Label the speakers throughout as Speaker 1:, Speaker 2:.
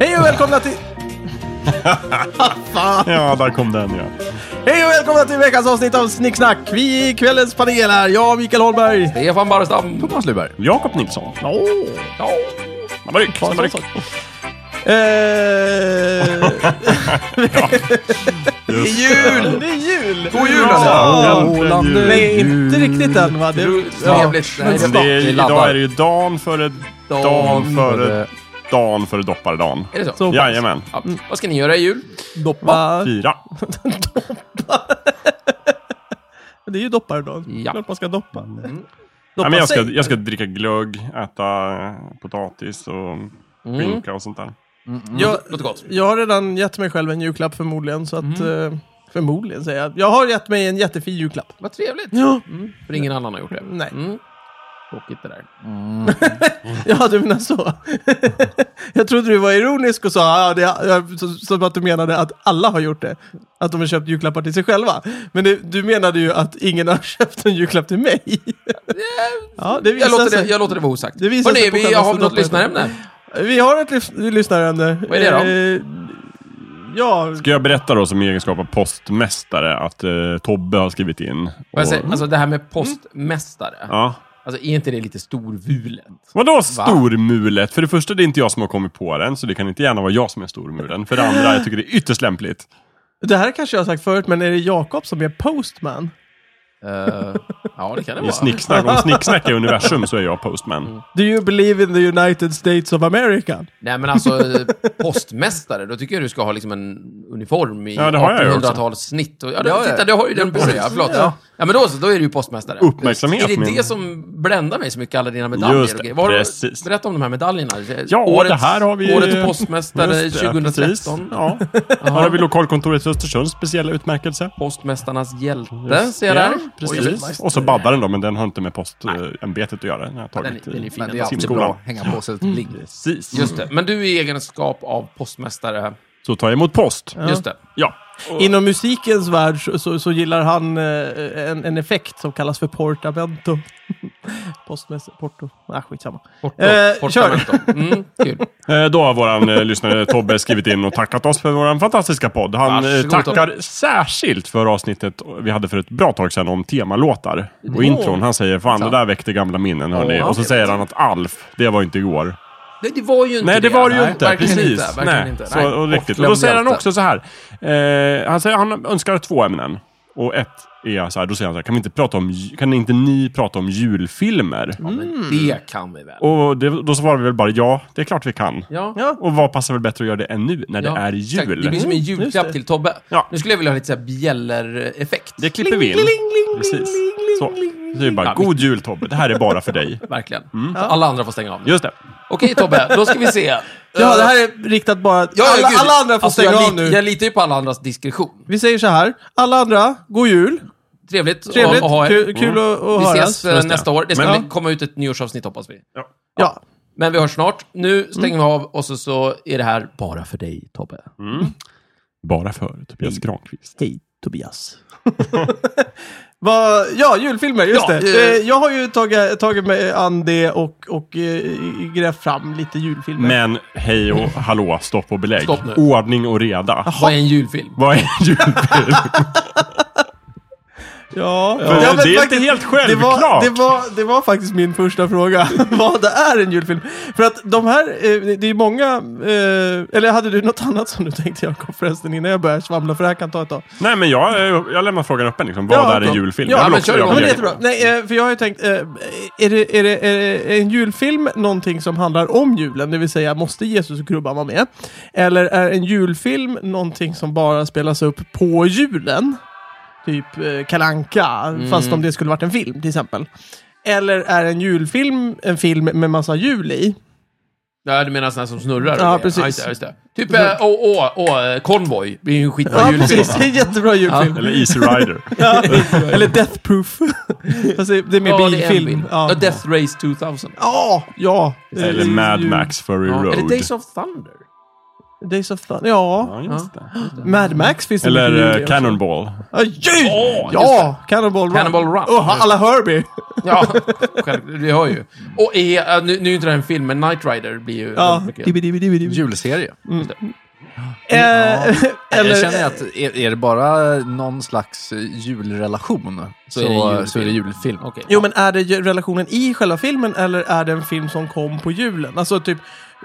Speaker 1: Hej och välkomna till...
Speaker 2: Ja, där kom den ja.
Speaker 1: Hej och välkomna till veckans avsnitt av Snicksnack. Vi i kvällens panel är jag, Mikael Holmberg. Eh,
Speaker 3: Stefan Barstam.
Speaker 1: Thomas Luberg.
Speaker 2: Jakob Nilsson. Ja,
Speaker 3: Ja.
Speaker 2: snabba ryck, snabba ryck.
Speaker 1: Eh... det
Speaker 3: Det är jul!
Speaker 1: är jul!
Speaker 3: God jul
Speaker 2: Ja,
Speaker 3: alltså!
Speaker 2: äntligen
Speaker 3: Rolande.
Speaker 2: jul.
Speaker 1: Nej, inte riktigt än va? Det...
Speaker 3: Roligt, Trevligt. Nej,
Speaker 2: Men
Speaker 3: det
Speaker 2: det är,
Speaker 3: Vi
Speaker 2: idag
Speaker 3: laddar.
Speaker 2: är det ju dan före
Speaker 3: Dan
Speaker 2: dan före
Speaker 3: före-
Speaker 2: dan före dopparedan.
Speaker 3: Är det så?
Speaker 1: Så.
Speaker 2: Jajamän.
Speaker 3: Ja. Vad ska ni göra i jul?
Speaker 1: Doppa.
Speaker 2: Fyra.
Speaker 1: Det är ju dopparedagen.
Speaker 3: Ja. Mm.
Speaker 1: Klart man ska doppa.
Speaker 2: Nej,
Speaker 1: Doppa
Speaker 2: Mm. men jag, ska,
Speaker 1: sig.
Speaker 2: jag ska dricka glögg, äta eh, potatis och
Speaker 3: Mm.
Speaker 2: skinka och sånt där.
Speaker 1: Jag,
Speaker 3: Låter gott.
Speaker 1: jag har redan gett mig själv en julklapp förmodligen, så att... eh,
Speaker 3: Mm.
Speaker 1: Förmodligen säger jag. Jag har gett mig en jättefin julklapp.
Speaker 3: Vad trevligt.
Speaker 1: Ja.
Speaker 3: För ingen annan har gjort det.
Speaker 1: Nej.
Speaker 3: Mm. Tråkigt det där.
Speaker 1: Ja, du menar så. jag trodde du var ironisk och sa ah, det, ja, så- som att du menade att alla har gjort det. Att de har köpt julklappar till sig själva. Men det, du menade ju att ingen har köpt en julklapp till mig. ja, det visar
Speaker 3: Jag låter,
Speaker 1: sig.
Speaker 3: det, jag låter det vara osagt.
Speaker 1: Det visar sig
Speaker 3: Hörrni,
Speaker 1: på
Speaker 3: vi
Speaker 1: själva
Speaker 3: har något
Speaker 1: ståuppet.
Speaker 3: lyssnarämne.
Speaker 1: Vi har ett lys- lyssnarämne.
Speaker 3: Vad är det då?
Speaker 1: Eh, ja,
Speaker 2: Ska jag berätta då som egenskap av postmästare att eh, Tobbe har skrivit in?
Speaker 3: Får jag
Speaker 2: och-
Speaker 3: säga, Alltså det här med postmästare.
Speaker 2: Ja.
Speaker 3: Alltså är inte det lite storvulet? Eh,
Speaker 2: Vadå stormulet? För det första, det är inte jag som har kommit på den, så det kan inte gärna vara jag som är stormulen. För det andra, jag tycker det är ytterst lämpligt.
Speaker 1: det här kanske jag har sagt förut, men är det Jakob som är postman?
Speaker 3: Eh, ja, det kan det
Speaker 2: I
Speaker 3: vara.
Speaker 2: snicksnack, om snicksnack är universum så är jag postman.
Speaker 3: Mm.
Speaker 1: Do you believe in the United States of America?
Speaker 3: Nej, men alltså eh, postmästare, då tycker jag du ska ha liksom en uniform i
Speaker 2: Ja, det har jag ju också.
Speaker 3: 1800-talssnitt. Och- Ja, det-
Speaker 4: Ja, ja.
Speaker 3: titta, du har ju den på dig. Ja, förlåt. Ja. men då så, då är du ju postmästare.
Speaker 2: Uppmärksamhet,
Speaker 3: Är det
Speaker 2: men-
Speaker 3: det som bländar mig så mycket, alla dina medaljer?
Speaker 2: Just det,
Speaker 3: och grejer? Vad har du-
Speaker 2: precis.
Speaker 3: Berätta om de här medaljerna.
Speaker 2: Ja, det här har vi...
Speaker 3: Årets postmästare
Speaker 2: Just det,
Speaker 3: 2013.
Speaker 2: precis. Ja. Här har vi lokalkontoret i Östersunds speciella utmärkelse.
Speaker 3: Postmästarnas hjälte, ser jag
Speaker 2: Ja,
Speaker 3: där.
Speaker 2: precis. Och så Babbaren då, men den har inte med postämbetet att göra. Den har jag
Speaker 3: Den,
Speaker 2: tagit
Speaker 3: den är
Speaker 2: i
Speaker 3: fin.
Speaker 4: Men det är
Speaker 3: ändå.
Speaker 4: alltid
Speaker 2: Simskolan.
Speaker 4: bra att hänga på sig ett ligg.
Speaker 2: Precis.
Speaker 3: Just det. Men du i egenskap av postmästare,
Speaker 2: Så tar jag emot post.
Speaker 3: just det.
Speaker 2: Ja.
Speaker 1: Inom musikens värld så, så, så gillar han eh, en, en effekt som kallas för portamento. Postmässigt, porto. Nej, skitsamma.
Speaker 3: Porto,
Speaker 1: Eh,
Speaker 3: portamento. Mm, kul.
Speaker 2: Eh, Då har våran eh, lyssnare Tobbe skrivit in och tackat oss för våran fantastiska podd. Han eh,
Speaker 3: Varsågod,
Speaker 2: tackar särskilt för avsnittet vi hade för ett bra tag sedan om temalåtar och intron. Han säger fan det där väckte gamla minnen hörni.
Speaker 3: Åh.
Speaker 2: Och så säger han att Alf, det var inte igår.
Speaker 3: Nej, det var ju inte
Speaker 2: Nej, det var det ju
Speaker 3: Nej,
Speaker 2: inte.
Speaker 3: Verkligen
Speaker 2: Precis.
Speaker 3: inte. Verkligen
Speaker 2: Nej.
Speaker 3: inte.
Speaker 2: Så, och riktigt. Och då
Speaker 3: Bortglömd
Speaker 2: säger han
Speaker 3: hjälte.
Speaker 2: också så här. Eh, han, säger, han önskar två ämnen. Och ett är så här, då säger han så här, kan, vi inte prata om, ju- kan inte ni prata om julfilmer?
Speaker 3: Ja, men det kan vi väl?
Speaker 2: Mm. Och det, då svarar vi väl bara ja, det är klart vi kan.
Speaker 3: Ja.
Speaker 1: Ja.
Speaker 2: Och vad passar väl bättre att göra det än nu när
Speaker 3: Ja,
Speaker 2: det är
Speaker 3: exakt.
Speaker 2: jul? Mm,
Speaker 3: Det blir som en
Speaker 1: just det.
Speaker 3: julklapp till Tobbe.
Speaker 2: Ja.
Speaker 3: Nu skulle jag vilja ha lite så här bjäller-effekt.
Speaker 2: Det klipper vi in. Precis. Så. Så det är bara,
Speaker 3: Ja,
Speaker 2: god jul Tobbe, det här är bara för dig.
Speaker 3: Verkligen.
Speaker 2: Mm.
Speaker 3: Så alla andra får stänga av nu.
Speaker 2: Just det.
Speaker 3: Okej Tobbe, då ska vi se. Eh, Ja,
Speaker 1: Ja, det här är riktat bara... alla, alla andra får stänga
Speaker 3: Alltså, jag
Speaker 1: av
Speaker 3: lit-
Speaker 1: nu.
Speaker 3: Jag litar ju på alla andras diskretion.
Speaker 1: Vi säger så här. Alla andra, god jul.
Speaker 3: Trevligt,
Speaker 1: Trevligt.
Speaker 3: att att ha er.
Speaker 1: Kul, kul att, att
Speaker 3: Vi
Speaker 1: höras.
Speaker 3: ses eh, nästa år. Det ska
Speaker 2: Men-
Speaker 3: väl komma ut ett nyårsavsnitt hoppas vi.
Speaker 1: Ja.
Speaker 3: Men vi hörs snart. Nu stänger
Speaker 2: Mm.
Speaker 3: vi av och så, så är det här bara för dig Tobbe.
Speaker 2: Bara för Tobias Granqvist.
Speaker 1: Hej, Tobias. Va, ja, julfilmer, just
Speaker 3: Ja,
Speaker 1: det.
Speaker 3: eh.
Speaker 1: Eh, jag har ju tagit, tagit mig an det och, och eh, grävt fram lite julfilmer.
Speaker 2: Men hej och hallå, stopp och belägg.
Speaker 3: Stopp nu.
Speaker 2: Ordning och reda.
Speaker 3: Vad är en julfilm?
Speaker 2: Vad är en julfilm?
Speaker 1: Ja,
Speaker 2: För
Speaker 1: ja men
Speaker 2: det är
Speaker 1: faktiskt-
Speaker 2: inte helt
Speaker 1: Det var,
Speaker 2: självklart.
Speaker 1: det, var, det var faktiskt min första fråga, vad det är en julfilm. För att de här, eh, det det är många, eh, eller hade du något annat som du tänkte Jakob förresten innan jag börjar svamla för det här kan ta ett tag.
Speaker 2: Nej, men jag, eh, jag lämnar frågan öppen. Liksom. Vad
Speaker 1: Ja,
Speaker 2: är en
Speaker 1: bra.
Speaker 2: julfilm?
Speaker 1: Ja,
Speaker 2: Jag vill
Speaker 3: men
Speaker 2: också
Speaker 3: kör
Speaker 2: göra
Speaker 1: Ja,
Speaker 3: igång.
Speaker 1: men det
Speaker 2: min
Speaker 1: är jättebra.
Speaker 2: egen.
Speaker 1: Nej, eh, för jag har ju tänkt, eh, är, det, är, det, är det en julfilm någonting som handlar om julen, det vill säga måste Jesus och krubban vara med? Eller är en julfilm någonting som bara spelas upp på julen? Typ eh, Kalanka,
Speaker 3: Mm.
Speaker 1: fast om det skulle varit en film till exempel. Eller är en julfilm en film med massa jul i?
Speaker 3: Ja, du menar sådana som snurrar?
Speaker 1: Ja,
Speaker 3: och grejer.
Speaker 1: precis.
Speaker 3: just det, just det. Typ, eh, åh, åh, åh, eh, Convoy. Det är ju en skitbra
Speaker 1: Ja,
Speaker 3: julfilm.
Speaker 1: precis. Det är en jättebra julfilm.
Speaker 2: Eller Easy Rider.
Speaker 1: Ja. Eller Death Proof. Fast det det är mer
Speaker 3: Ja, det är en
Speaker 1: bilfilm.
Speaker 3: bild. Ja. Death Race 2000.
Speaker 1: Ja, Eh, ja.
Speaker 2: Eller Mad Max Fury
Speaker 3: Ja. Eller
Speaker 2: Road.
Speaker 3: Days of Thunder.
Speaker 1: Days of Thunder, ja.
Speaker 2: Ja, just det.
Speaker 1: Mad Max finns det mycket
Speaker 2: Eller
Speaker 1: jul i
Speaker 2: eh,
Speaker 1: också.
Speaker 2: Cannonball.
Speaker 1: Ja, ju-
Speaker 3: Åh,
Speaker 1: ja, Cannonball Run.
Speaker 3: Cannonball Run.
Speaker 1: Och alla Herbie.
Speaker 3: Ja, själv, vi hör ju. Och är, äh, nu, nu är inte det här en film, men Knight Rider blir ju
Speaker 1: Ja.
Speaker 3: väldigt mycket
Speaker 1: Dibbi, dibbi, dibbi, dibbi.
Speaker 4: Julserie.
Speaker 3: Just det.
Speaker 1: Eh,
Speaker 4: Jag
Speaker 1: Eller
Speaker 4: känner att är, är det bara någon slags eh, julrelation så,
Speaker 3: är det julfilm.
Speaker 4: så är det julfilm.
Speaker 3: Okej.
Speaker 1: Jo, men är det ju relationen i själva filmen eller är det en film som kom på julen? Alltså typ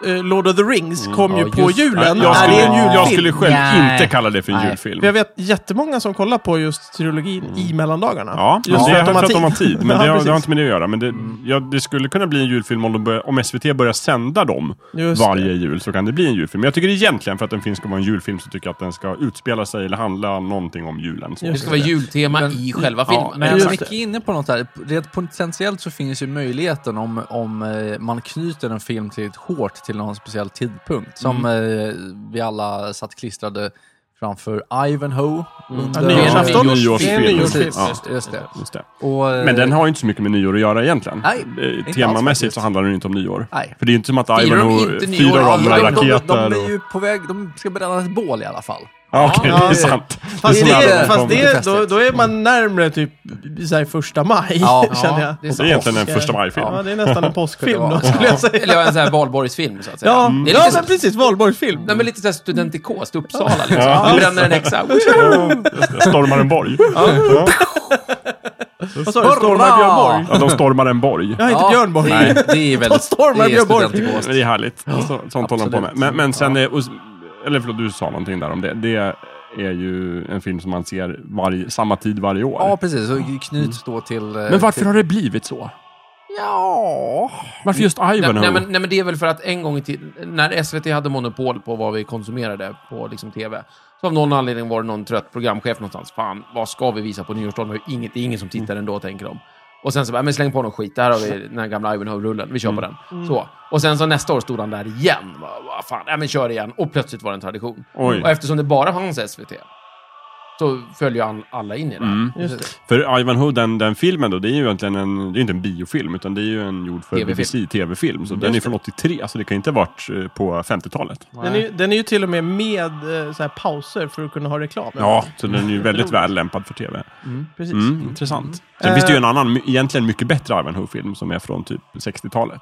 Speaker 1: eh, Lord of the Rings kom ju
Speaker 4: ja,
Speaker 1: på
Speaker 4: just-
Speaker 1: julen.
Speaker 2: jag,
Speaker 1: är det en
Speaker 2: skulle,
Speaker 1: julfilm?
Speaker 2: jag skulle själv
Speaker 3: Nej.
Speaker 2: inte kalla det för en
Speaker 4: Nej.
Speaker 2: julfilm.
Speaker 1: För jag vet jättemånga som kollar på just trilogin i mellandagarna.
Speaker 2: Ja, men
Speaker 1: just
Speaker 2: det är för att de har tid. Men
Speaker 1: Ja,
Speaker 2: det, har, det
Speaker 1: precis.
Speaker 2: har inte med det att göra. Men det, ja, det skulle kunna bli en julfilm om, de börjar- om SVT börjar sända dem
Speaker 1: Just
Speaker 2: varje
Speaker 1: det.
Speaker 2: jul. Så kan det bli en julfilm. Men jag tycker egentligen för att en film ska vara en julfilm så tycker jag att den ska utspela sig eller handla någonting om julen. Så.
Speaker 1: Just
Speaker 3: Det ska vara jultema i själva filmen.
Speaker 4: Ja, men
Speaker 1: Just
Speaker 4: Micke
Speaker 1: det.
Speaker 4: är inne på något här. Rent potentiellt så finns ju möjligheten om, om eh, man knyter en film till ett hårt till någon speciell tidpunkt. Som eh, vi alla satt klistrade framför Ivanhoe
Speaker 1: Ja,
Speaker 4: under
Speaker 1: nyårsafton.
Speaker 2: Ja,
Speaker 1: Det är en
Speaker 2: nyårsfilm.
Speaker 1: nyårsfilm.
Speaker 2: Ja.
Speaker 4: Just, just det.
Speaker 2: Just det.
Speaker 4: Och, eh,
Speaker 2: Men den har ju inte så mycket med nyår att göra egentligen.
Speaker 4: Nej,
Speaker 2: Eh,
Speaker 4: inte alls
Speaker 2: Temamässigt
Speaker 4: faktiskt.
Speaker 2: så handlar den inte om nyår.
Speaker 4: Nej.
Speaker 2: För det är ju inte som att
Speaker 3: Firar de
Speaker 2: Ivanhoe
Speaker 3: inte nyår
Speaker 2: firar av
Speaker 3: alla?
Speaker 2: några
Speaker 4: de, de, de,
Speaker 2: raketer.
Speaker 4: de är
Speaker 2: och-
Speaker 4: ju på väg, de ska bränna ett bål i alla fall.
Speaker 2: Ja, Okej, det
Speaker 1: Ja.
Speaker 2: är sant.
Speaker 1: Fast,
Speaker 4: Det är
Speaker 1: det,
Speaker 4: så
Speaker 1: är-
Speaker 4: nära
Speaker 1: fast
Speaker 4: de
Speaker 1: det,
Speaker 4: kommer.
Speaker 1: är- då, då är man närmre typ så här, första maj,
Speaker 4: Ja,
Speaker 1: känner jag.
Speaker 3: Ja,
Speaker 2: Det
Speaker 3: det är
Speaker 2: är
Speaker 3: sant.
Speaker 2: egentligen en första maj-film.
Speaker 1: Ja, det är nästan en påskfilm då,
Speaker 4: vara.
Speaker 1: skulle jag säga.
Speaker 3: Eller en sån här valborgsfilm, så att säga.
Speaker 1: Ja,
Speaker 3: Det är
Speaker 1: ja
Speaker 3: lite
Speaker 1: men
Speaker 3: så-
Speaker 1: precis. Valborgsfilm.
Speaker 3: Nej, men lite såhär studentikos, Uppsala liksom.
Speaker 2: Ja.
Speaker 3: Du bränner en häxa.
Speaker 2: Stormar en borg. Ja.
Speaker 1: Vad sa du? Stormar
Speaker 4: Hurra!
Speaker 1: Björn Borg?
Speaker 2: Ja, de stormar en borg.
Speaker 1: Jag heter
Speaker 4: Ja,
Speaker 1: Björn Borg.
Speaker 4: Det är, det är väldigt...
Speaker 1: stormar
Speaker 4: det är
Speaker 1: Björn Borg.
Speaker 4: studentikost.
Speaker 2: Men Det är härligt. Så, sånt håller han på med.
Speaker 4: absolut.
Speaker 2: Men, men sen, är- och, s- eller förlåt, du sa någonting där om det. Det är ju en film som man ser varje, samma tid varje år.
Speaker 4: Ja, precis. Och knyts då till... eh,
Speaker 2: men varför har det blivit så?
Speaker 4: Ja...
Speaker 2: Varför just
Speaker 3: Nej,
Speaker 2: Ivanhoe?
Speaker 3: nej, men, nej, men det är väl för att en gång i tiden, när SVT hade monopol på vad vi konsumerade på liksom, TV, så av någon anledning var det någon trött programchef någonstans. Fan, vad ska vi visa på nyårsdagen? Det är inget- det är ingen som tittar ändå, tänker de. Och sen så bara, men släng på någon skit. Där har vi den här gamla Ivanhoe-rullen. Vi kör på den. Så. Och sen så nästa år stod han där igen. Bara, Vad fan, nej men kör igen. Och plötsligt var det en tradition.
Speaker 2: Oj.
Speaker 3: Och eftersom det bara fanns SVT, så följer han alla in i det.
Speaker 2: Mm.
Speaker 1: Just
Speaker 2: För Ivanhoe, den, den filmen då, det är ju egentligen en, det är inte en biofilm, utan det är ju en gjord för
Speaker 3: TV-film.
Speaker 2: BBC TV-film. Så den är från 83, så det kan ju inte ha varit eh, på 50-talet.
Speaker 1: Den är, ju- den är ju till och med med eh, så här, pauser för att kunna ha reklam.
Speaker 2: Ja, så den är ju väldigt väl lämpad för TV.
Speaker 1: Precis. Eh,
Speaker 2: Mm, Intressant. Sen finns det ju en annan, my- egentligen mycket bättre Ivanhoe-film som är från typ 60-talet.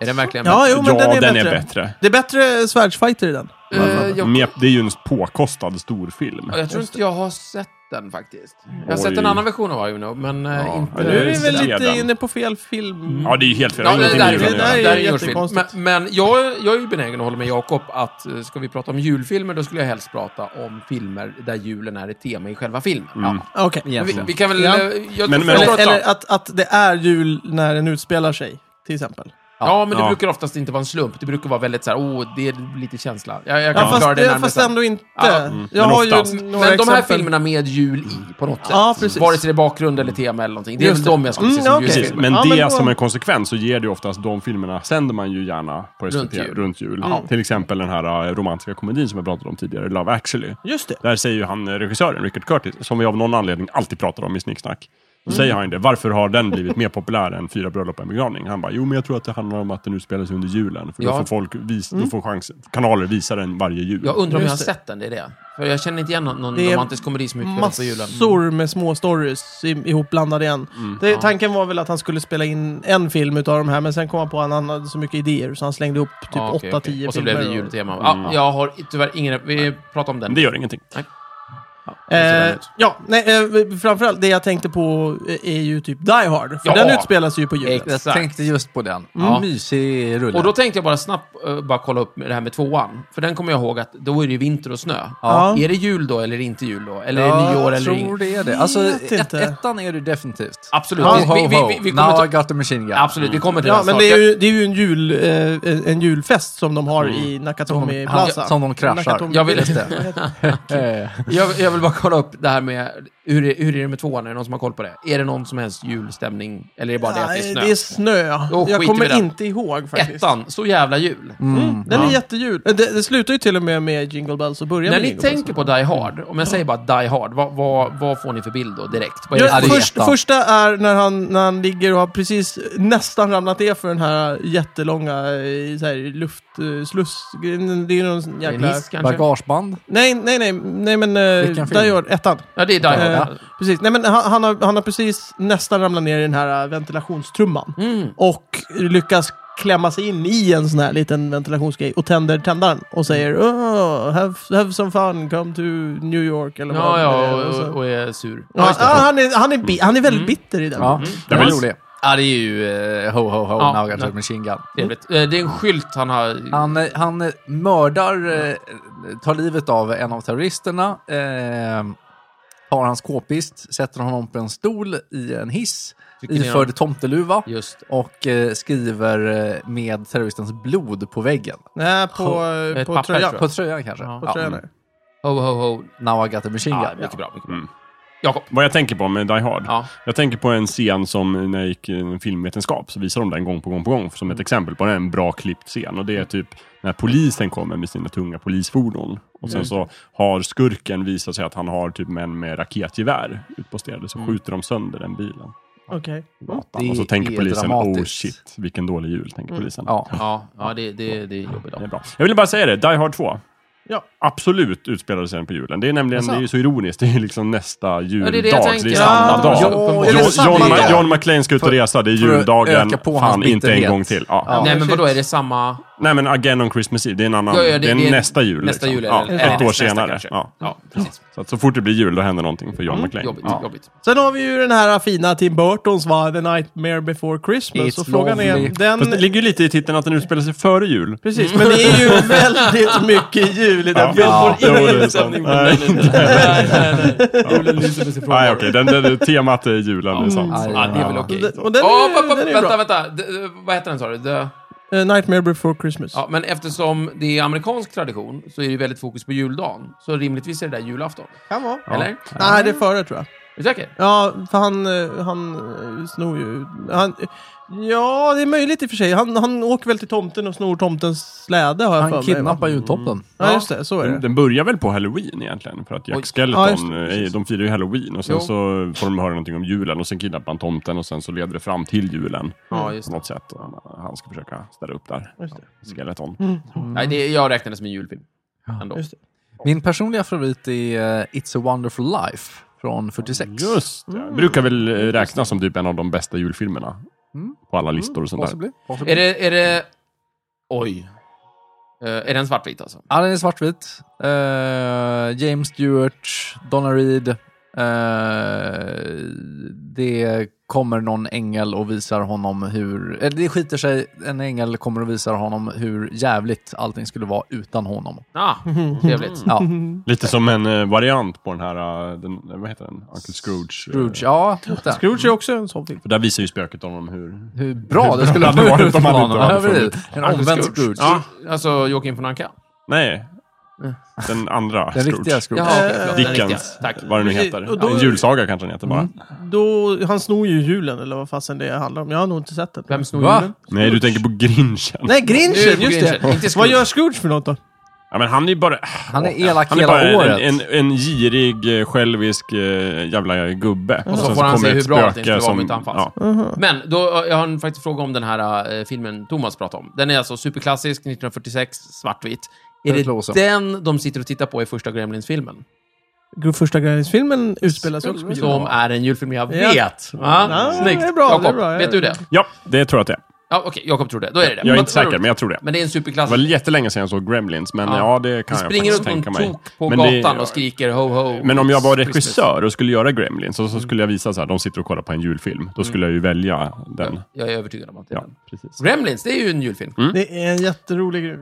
Speaker 3: Är det verkligen...
Speaker 1: Ja, jo, men
Speaker 2: ja,
Speaker 1: den, är, bättre.
Speaker 2: bättre.
Speaker 1: Det är bättre svärdsfighter i den.
Speaker 3: Eh, jag
Speaker 2: Men Det är ju en påkostad storfilm.
Speaker 3: Ja, Jag tror inte jag har sett den faktiskt. Jag
Speaker 2: Oj.
Speaker 3: har sett en annan version av I know, men eh,
Speaker 2: Ja,
Speaker 3: inte...
Speaker 2: men
Speaker 1: Nu är vi
Speaker 2: just
Speaker 1: väl
Speaker 2: det.
Speaker 1: lite
Speaker 2: Sedan.
Speaker 1: inne på fel film.
Speaker 2: Ja, det är ju helt fel.
Speaker 3: Ja,
Speaker 2: Det har
Speaker 3: det,
Speaker 2: ingenting
Speaker 3: där
Speaker 2: med
Speaker 3: är,
Speaker 1: det
Speaker 2: julen att
Speaker 3: det,
Speaker 1: där är
Speaker 2: göra.
Speaker 3: är en julfilm. Men,
Speaker 1: jättekonstigt.
Speaker 3: men jag, jag är ju benägen att hålla med Jakob att eh, ska vi prata om julfilmer, då skulle jag helst prata om filmer där julen är ett tema i själva filmen. Ja.
Speaker 1: Okej.
Speaker 4: Ja.
Speaker 3: Men Vi, vi kan väl...
Speaker 1: Ja.
Speaker 3: eh, Jag,
Speaker 2: Mm. Men- men-
Speaker 3: jag tror
Speaker 1: Eller,
Speaker 3: att-
Speaker 1: eller att, att det är jul när den utspelar sig, till exempel.
Speaker 3: ja, men det
Speaker 2: Ja.
Speaker 3: brukar oftast inte vara en slump. Det brukar vara väldigt så här, åh, det är lite känsla. Jag, jag kan
Speaker 1: Ja,
Speaker 3: förklara
Speaker 1: fast,
Speaker 3: det
Speaker 1: det,
Speaker 3: närmare
Speaker 1: fast
Speaker 3: sen.
Speaker 1: ändå inte.
Speaker 3: Ja.
Speaker 1: Jag
Speaker 2: Men
Speaker 1: har ju
Speaker 2: oftast.
Speaker 1: några
Speaker 3: Men de här
Speaker 1: exempel.
Speaker 3: filmerna med jul i, på något sätt.
Speaker 1: Ja, precis.
Speaker 3: Vare sig det är bakgrund eller tema eller någonting. Det är
Speaker 1: Just
Speaker 3: väl
Speaker 1: det.
Speaker 3: de jag skulle se
Speaker 1: Mm,
Speaker 3: som
Speaker 1: okej.
Speaker 2: Precis,
Speaker 3: julfilmer.
Speaker 2: men
Speaker 1: Ja,
Speaker 2: det
Speaker 1: men då-
Speaker 2: som en konsekvens så ger det ju oftast de filmerna, sänder man ju gärna på SVT
Speaker 3: Runt
Speaker 2: runt
Speaker 3: jul.
Speaker 2: jul.
Speaker 3: Ja.
Speaker 2: Till exempel den här eh, romantiska komedin som jag pratade om tidigare, Love actually.
Speaker 1: Just det.
Speaker 2: Där säger ju han, eh, regissören, Richard Curtis, som vi av någon anledning alltid pratar om i Snicksnack. Då
Speaker 3: Mm.
Speaker 2: säger han ju det, varför har den blivit mer populär än Fyra bröllop och en begravning? Han bara, jo men jag tror att det handlar om att den utspelar sig under julen. För
Speaker 3: Ja.
Speaker 2: då
Speaker 3: Mm.
Speaker 2: får, folk vis, då får chans, kanaler visa den varje jul.
Speaker 3: Jag undrar om jag har
Speaker 1: Just
Speaker 3: sett den, det är det. För jag känner inte igen någon, någon
Speaker 1: Det är
Speaker 3: romantisk komedi som utspelas på julen. Mm.
Speaker 1: Massor Typ med små stories i- ihopblandade i en. det, Tanken var väl att han skulle spela in en film utav de här, men sen kom han på att han hade så mycket idéer så han slängde ihop typ
Speaker 3: Ja, okej,
Speaker 1: 8-10
Speaker 3: okej.
Speaker 1: filmer.
Speaker 3: Och så blev det
Speaker 1: och- Mm.
Speaker 3: jultema. Ja, jag har tyvärr ingen... Vi pratar om den.
Speaker 2: Men det gör ingenting.
Speaker 3: Ja, så den
Speaker 1: Eh,
Speaker 3: ut.
Speaker 1: ja, nej, eh, framförallt det jag tänkte på eh, är ju typ Die Hard. För
Speaker 3: Ja.
Speaker 1: den utspelar sig ju på julen.
Speaker 3: Exakt.
Speaker 4: Jag tänkte just på den.
Speaker 3: Ja.
Speaker 4: Mm. Mysig rulle.
Speaker 3: Och då tänkte jag bara snabbt eh, bara kolla upp det här med tvåan. För den kommer jag ihåg att då är det ju vinter och snö.
Speaker 1: Ja.
Speaker 3: Är det jul då eller inte jul då? Eller
Speaker 4: Ja,
Speaker 3: är det nyår
Speaker 4: jag
Speaker 3: eller
Speaker 4: tror
Speaker 3: inget?
Speaker 4: det är det. Alltså,
Speaker 1: Vet
Speaker 4: ett,
Speaker 1: inte.
Speaker 4: ettan är det definitivt.
Speaker 3: Absolut.
Speaker 4: Ho,
Speaker 3: Vi-
Speaker 4: ho,
Speaker 3: vi- vi-
Speaker 4: ho.
Speaker 3: vi- vi kommer
Speaker 4: Now
Speaker 3: ta-
Speaker 4: I got the machine gun.
Speaker 3: Absolut, vi kommer till
Speaker 1: Mm. Ja,
Speaker 3: den
Speaker 1: men
Speaker 3: snart.
Speaker 1: det är ju, det är ju en, jul, eh, en julfest som de har
Speaker 3: Mm.
Speaker 1: i Nakatomi
Speaker 4: Han-
Speaker 1: Plaza.
Speaker 4: som de kraschar.
Speaker 1: Nakatomi-
Speaker 3: Jag vill-
Speaker 1: Just det.
Speaker 4: Eh,
Speaker 3: Jag, jag vill bara kolla upp det här med Hur är, hur är det med tvåan? Är det någon som har koll på det? Är det någon som helst julstämning? Eller är det bara det att det
Speaker 1: Nej,
Speaker 3: är snö?
Speaker 1: det är snö.
Speaker 3: Då skiter
Speaker 1: jag
Speaker 3: vi i
Speaker 1: kommer
Speaker 3: den.
Speaker 1: inte ihåg faktiskt.
Speaker 3: Ettan, så jävla jul.
Speaker 1: Mm, den är
Speaker 3: Ja.
Speaker 1: jättejul. Eh, Det, det slutar ju till och med med Jingle Bells och börjar
Speaker 3: När
Speaker 1: med
Speaker 3: ni
Speaker 1: Jingle Bells.
Speaker 3: tänker på Die Hard, om jag säger bara Die Hard, vad, vad, vad får ni för bild då direkt? Vad är
Speaker 1: Ja,
Speaker 3: det?
Speaker 4: det är
Speaker 1: först,
Speaker 4: jättan.
Speaker 1: första är när han, när han ligger och har precis nästan ramlat ner för den här jättelånga eh, så här, luftsluss. Det är någon
Speaker 3: Det är en
Speaker 1: jäkla...
Speaker 3: hiss kanske? Mm.
Speaker 4: Bagageband?
Speaker 1: Nej, nej, nej, nej men... Uh,
Speaker 4: Vilken film?
Speaker 1: där gör ettan.
Speaker 3: Ja, det är Die
Speaker 1: Eh,
Speaker 3: Hard.
Speaker 1: precis. Nej, men han, han, har, han har precis nästan ramlat ner i den här eh, ventilationstrumman.
Speaker 3: Mm.
Speaker 1: Och lyckas klämma sig in i en sån här liten ventilationsgrej och tänder tändaren och säger oh, have, have some fun, come to New York eller eh, vad
Speaker 3: Ja,
Speaker 1: det
Speaker 3: ja,
Speaker 1: är. Och så-
Speaker 3: och, och är sur.
Speaker 1: Ja, ah, han, är, han, är bi- han är väldigt bitter i den.
Speaker 4: Ja,
Speaker 2: Den
Speaker 4: den
Speaker 2: var
Speaker 4: var
Speaker 2: s-
Speaker 4: rolig. Ja, det är ju eh, ho, ho, ho,
Speaker 3: Mm. Ja,
Speaker 4: now I got
Speaker 3: nej.
Speaker 4: a machine gun.
Speaker 3: Trevligt. Eh, Det är en skylt han har...
Speaker 1: Ah,
Speaker 4: Han, eh, han eh, mördar, eh, tar livet av en av terroristerna, eh, tar hans k-pist, sätter honom på en stol i en hiss,
Speaker 3: Trycker ner
Speaker 4: iförd tomteluva
Speaker 3: Just det.
Speaker 4: och eh, skriver eh, med terroristens blod på väggen.
Speaker 1: Nej, på,
Speaker 3: ett
Speaker 1: på
Speaker 3: papper,
Speaker 1: tröjan.
Speaker 3: tror
Speaker 1: På,
Speaker 4: På tröjan kanske?
Speaker 3: Ja.
Speaker 1: på tröjan. där.
Speaker 3: Ho, ho, ho.
Speaker 4: Now I got a machine
Speaker 3: Ja,
Speaker 4: gun.
Speaker 3: mycket bra. Mycket bra.
Speaker 2: Mm.
Speaker 3: Jakob.
Speaker 2: Vad jag tänker på med Die Hard.
Speaker 3: Ja.
Speaker 2: Jag tänker på en scen som när jag gick i filmvetenskap så visade de den gång på gång på gång som
Speaker 4: Mm.
Speaker 2: ett exempel på en bra klippt scen. Och det är typ när polisen kommer med sina tunga polisfordon. Och
Speaker 4: Mm.
Speaker 2: sen så har skurken visat sig att han har typ män med raketgevär utposterade. Så skjuter de sönder den bilen.
Speaker 1: Okej.
Speaker 2: Gatan.
Speaker 4: Mm. Det
Speaker 2: Och så tänker
Speaker 4: är
Speaker 2: polisen, oh
Speaker 4: dramatiskt." Mm.
Speaker 2: shit, vilken dålig jul, tänker polisen.
Speaker 4: Ja.
Speaker 3: Ja, ja det, det, det är jobbigt.
Speaker 2: Det är
Speaker 3: Då.
Speaker 2: bra. Jag ville bara säga det, Die Hard 2.
Speaker 1: Ja.
Speaker 2: Absolut utspelade sig den på julen. Det är nämligen,
Speaker 3: Jaså?
Speaker 2: det är ju så ironiskt, det är ju liksom nästa juldag.
Speaker 3: det är det jag
Speaker 2: så
Speaker 3: tänker.
Speaker 2: samma
Speaker 1: Ja,
Speaker 2: dag.
Speaker 1: ja,
Speaker 4: är det
Speaker 2: John,
Speaker 4: samma
Speaker 2: John,
Speaker 4: dag?
Speaker 2: John McClane ska ut och
Speaker 4: För-
Speaker 2: resa, det är
Speaker 4: för att
Speaker 2: juldagen.
Speaker 4: öka på
Speaker 2: Fan,
Speaker 4: hans
Speaker 2: inte en
Speaker 4: bitterhet.
Speaker 2: gång till. Ja.
Speaker 4: Ja.
Speaker 3: Nej, men
Speaker 1: shit.
Speaker 3: vadå, är det samma...
Speaker 2: Nej men Again on Christmas Eve, det är en annan,
Speaker 3: Ja, ja,
Speaker 2: det, är nästa jul.
Speaker 3: Nästa
Speaker 2: liksom.
Speaker 3: jul
Speaker 2: ja,
Speaker 3: eller,
Speaker 2: ett
Speaker 3: eller
Speaker 2: år
Speaker 3: nästa
Speaker 2: senare.
Speaker 3: kanske.
Speaker 2: Ja.
Speaker 3: Ja, precis.
Speaker 2: Så, att så fort det blir jul, då händer någonting för John McClane.
Speaker 3: Mm, Jobbigt,
Speaker 2: Ja.
Speaker 3: jobbigt.
Speaker 1: Sen har vi ju den här fina Tim Burtons va, The Nightmare Before Christmas.
Speaker 4: It's
Speaker 1: och frågan
Speaker 4: lovely.
Speaker 1: är, den...
Speaker 2: Fast det ligger ju lite i titeln att den utspelar sig före jul.
Speaker 1: Precis, men det är ju väldigt mycket jul i den
Speaker 2: Ja,
Speaker 1: filmen.
Speaker 2: jo, det är sant. Nej,
Speaker 3: Nej, nej, nej.
Speaker 2: Julen lyser med sin Nej, Ah, okej. Den, den, temat är julen, det är sant.
Speaker 4: Aj,
Speaker 3: Ja, det är väl
Speaker 4: ja.
Speaker 3: okej.
Speaker 1: Den- Och den
Speaker 3: Ja,
Speaker 1: är,
Speaker 3: pa- pa-
Speaker 1: den är ju
Speaker 3: vänta,
Speaker 1: bra.
Speaker 3: vänta. D- eh, vad heter den sa du? The...
Speaker 1: Eh, Nightmare Before Christmas.
Speaker 3: Ja, men eftersom det är amerikansk tradition så är det väldigt fokus på juldagen. Så rimligtvis är det där julafton.
Speaker 1: Kan vara.
Speaker 3: Eller? Är
Speaker 1: Nej, det är före tror jag.
Speaker 3: du säker?
Speaker 1: Ja, för han, eh, han eh, snor ju... Han, ja, det är möjligt i och för sig. Han, han åker väl till tomten och snor tomtens släde har jag för
Speaker 4: Han
Speaker 1: mig.
Speaker 4: kidnappar
Speaker 1: va?
Speaker 4: ju toppen.
Speaker 1: Ja, just det. Så är det.
Speaker 2: Den, den börjar väl på halloween egentligen? För att
Speaker 3: Oj.
Speaker 2: Jack
Speaker 1: Ja, just
Speaker 2: Skeleton,
Speaker 1: det,
Speaker 2: eh,
Speaker 1: precis.
Speaker 2: de firar ju halloween och sen
Speaker 3: Jo.
Speaker 2: så får de höra någonting om julen och sen kidnappar han tomten och sen så leder det fram till julen.
Speaker 3: Ja, just
Speaker 2: På
Speaker 3: det.
Speaker 2: något sätt. Och han- Han ska försöka ställa upp där.
Speaker 1: Just det.
Speaker 2: Skeleton.
Speaker 3: Nej, det, jag räknade som en julfilm. Ändå.
Speaker 1: Just det.
Speaker 4: Min personliga favorit är eh, It's a wonderful life från 46.
Speaker 2: Just det. Brukar väl eh, räknas som typ en av de bästa julfilmerna.
Speaker 4: Mm.
Speaker 2: På alla listor och sånt där.
Speaker 4: Possibly.
Speaker 3: Är det... Är det... Oj. Eh, är den svartvit alltså?
Speaker 4: Ja, den är svartvit. Eh, James Stewart, Donna Reed. Eh, det kommer någon ängel och visar honom hur... Eller det skiter sig. En ängel kommer och visar honom hur jävligt allting skulle vara utan honom.
Speaker 3: Ah, trevligt.
Speaker 4: Ja.
Speaker 2: Lite som en eh, variant på den här, eh, den, eh, vad heter den? Uncle Scrooge. eh,
Speaker 4: Scrooge, ja. titta.
Speaker 1: Scrooge är också en sån film.
Speaker 2: För där visar ju spöket honom hur...
Speaker 4: Hur bra det
Speaker 2: Hur bra
Speaker 4: skulle
Speaker 2: det hade varit om han inte
Speaker 4: Ja,
Speaker 2: hade
Speaker 4: precis. En omvänd Scrooge.
Speaker 3: Ja, alltså Joakim von Anka.
Speaker 2: Nej. Den andra
Speaker 4: Den
Speaker 2: Scrooge.
Speaker 4: riktiga Scrooge.
Speaker 3: Jaha, okej, förlåt, den riktiga.
Speaker 2: Dickens.
Speaker 3: Tack.
Speaker 2: Vad det nu
Speaker 1: Precis,
Speaker 2: heter.
Speaker 1: och då-
Speaker 2: En julsaga kanske den heter bara.
Speaker 1: Då, han snor ju julen, eller vad fasen det handlar om. Jag har nog inte sett den.
Speaker 3: Vem snor
Speaker 4: Va?
Speaker 3: julen?
Speaker 2: Nej, du tänker på
Speaker 1: Nej,
Speaker 2: Grinchen.
Speaker 3: Nu är det
Speaker 1: Grinchen!
Speaker 3: på
Speaker 1: Just
Speaker 3: Grinchen, inte
Speaker 1: det.
Speaker 3: Scrooge.
Speaker 1: Vad gör Scrooge för något då?
Speaker 2: Ja, men han är ju bara,
Speaker 4: Han är elak
Speaker 2: han är
Speaker 4: hela
Speaker 2: bara
Speaker 4: året.
Speaker 2: en, en, en girig, eh, självisk eh, jävla gubbe.
Speaker 3: Och så
Speaker 2: sen
Speaker 3: får han se
Speaker 2: kommer
Speaker 3: hur
Speaker 2: ett
Speaker 3: bra allting
Speaker 2: spöke
Speaker 3: skulle vara om inte han fanns.
Speaker 2: ja.
Speaker 3: Men då, eh, jag har en faktiskt fråga om den här eh, filmen Thomas pratade om. Den är alltså superklassisk, 1946, svartvit. Är
Speaker 4: Det
Speaker 3: det
Speaker 4: låter så.
Speaker 3: den de sitter och tittar på i första Gremlins-filmen?
Speaker 1: Första Gremlins-filmen utspelar sig också på julen.
Speaker 3: Som är en julfilm jag
Speaker 1: Ja.
Speaker 3: vet. Ja.
Speaker 1: Ja,
Speaker 3: Snyggt.
Speaker 1: det är bra,
Speaker 3: Jakob,
Speaker 1: det är bra.
Speaker 3: vet du det?
Speaker 2: ja, det tror jag att det är.
Speaker 3: Ja, Okej, Jakob tror det. Då är det det.
Speaker 2: Jag är
Speaker 3: Men-
Speaker 2: inte säker, men jag tror det.
Speaker 3: Men det är
Speaker 2: Det
Speaker 3: en
Speaker 2: var
Speaker 3: superklassisk.
Speaker 2: jättelänge sedan jag såg Gremlins, men
Speaker 3: Ja.
Speaker 2: ja, det kan
Speaker 3: Det
Speaker 2: jag
Speaker 3: springer
Speaker 2: faktiskt
Speaker 3: runt
Speaker 2: tänka
Speaker 3: någon
Speaker 2: mig.
Speaker 3: tok på
Speaker 2: Men det-
Speaker 3: gatan och skriker ho ho.
Speaker 2: Men om jag var
Speaker 3: It's Christmas.
Speaker 2: regissör och skulle göra Gremlins, och så skulle jag visa så här, de sitter och kollar på en julfilm. Då
Speaker 3: Mm.
Speaker 2: skulle jag ju välja den.
Speaker 3: Jag är övertygad om att det är
Speaker 2: Ja,
Speaker 3: den.
Speaker 2: precis.
Speaker 3: Gremlins, det är ju en julfilm.
Speaker 1: Det är en jätterolig eh,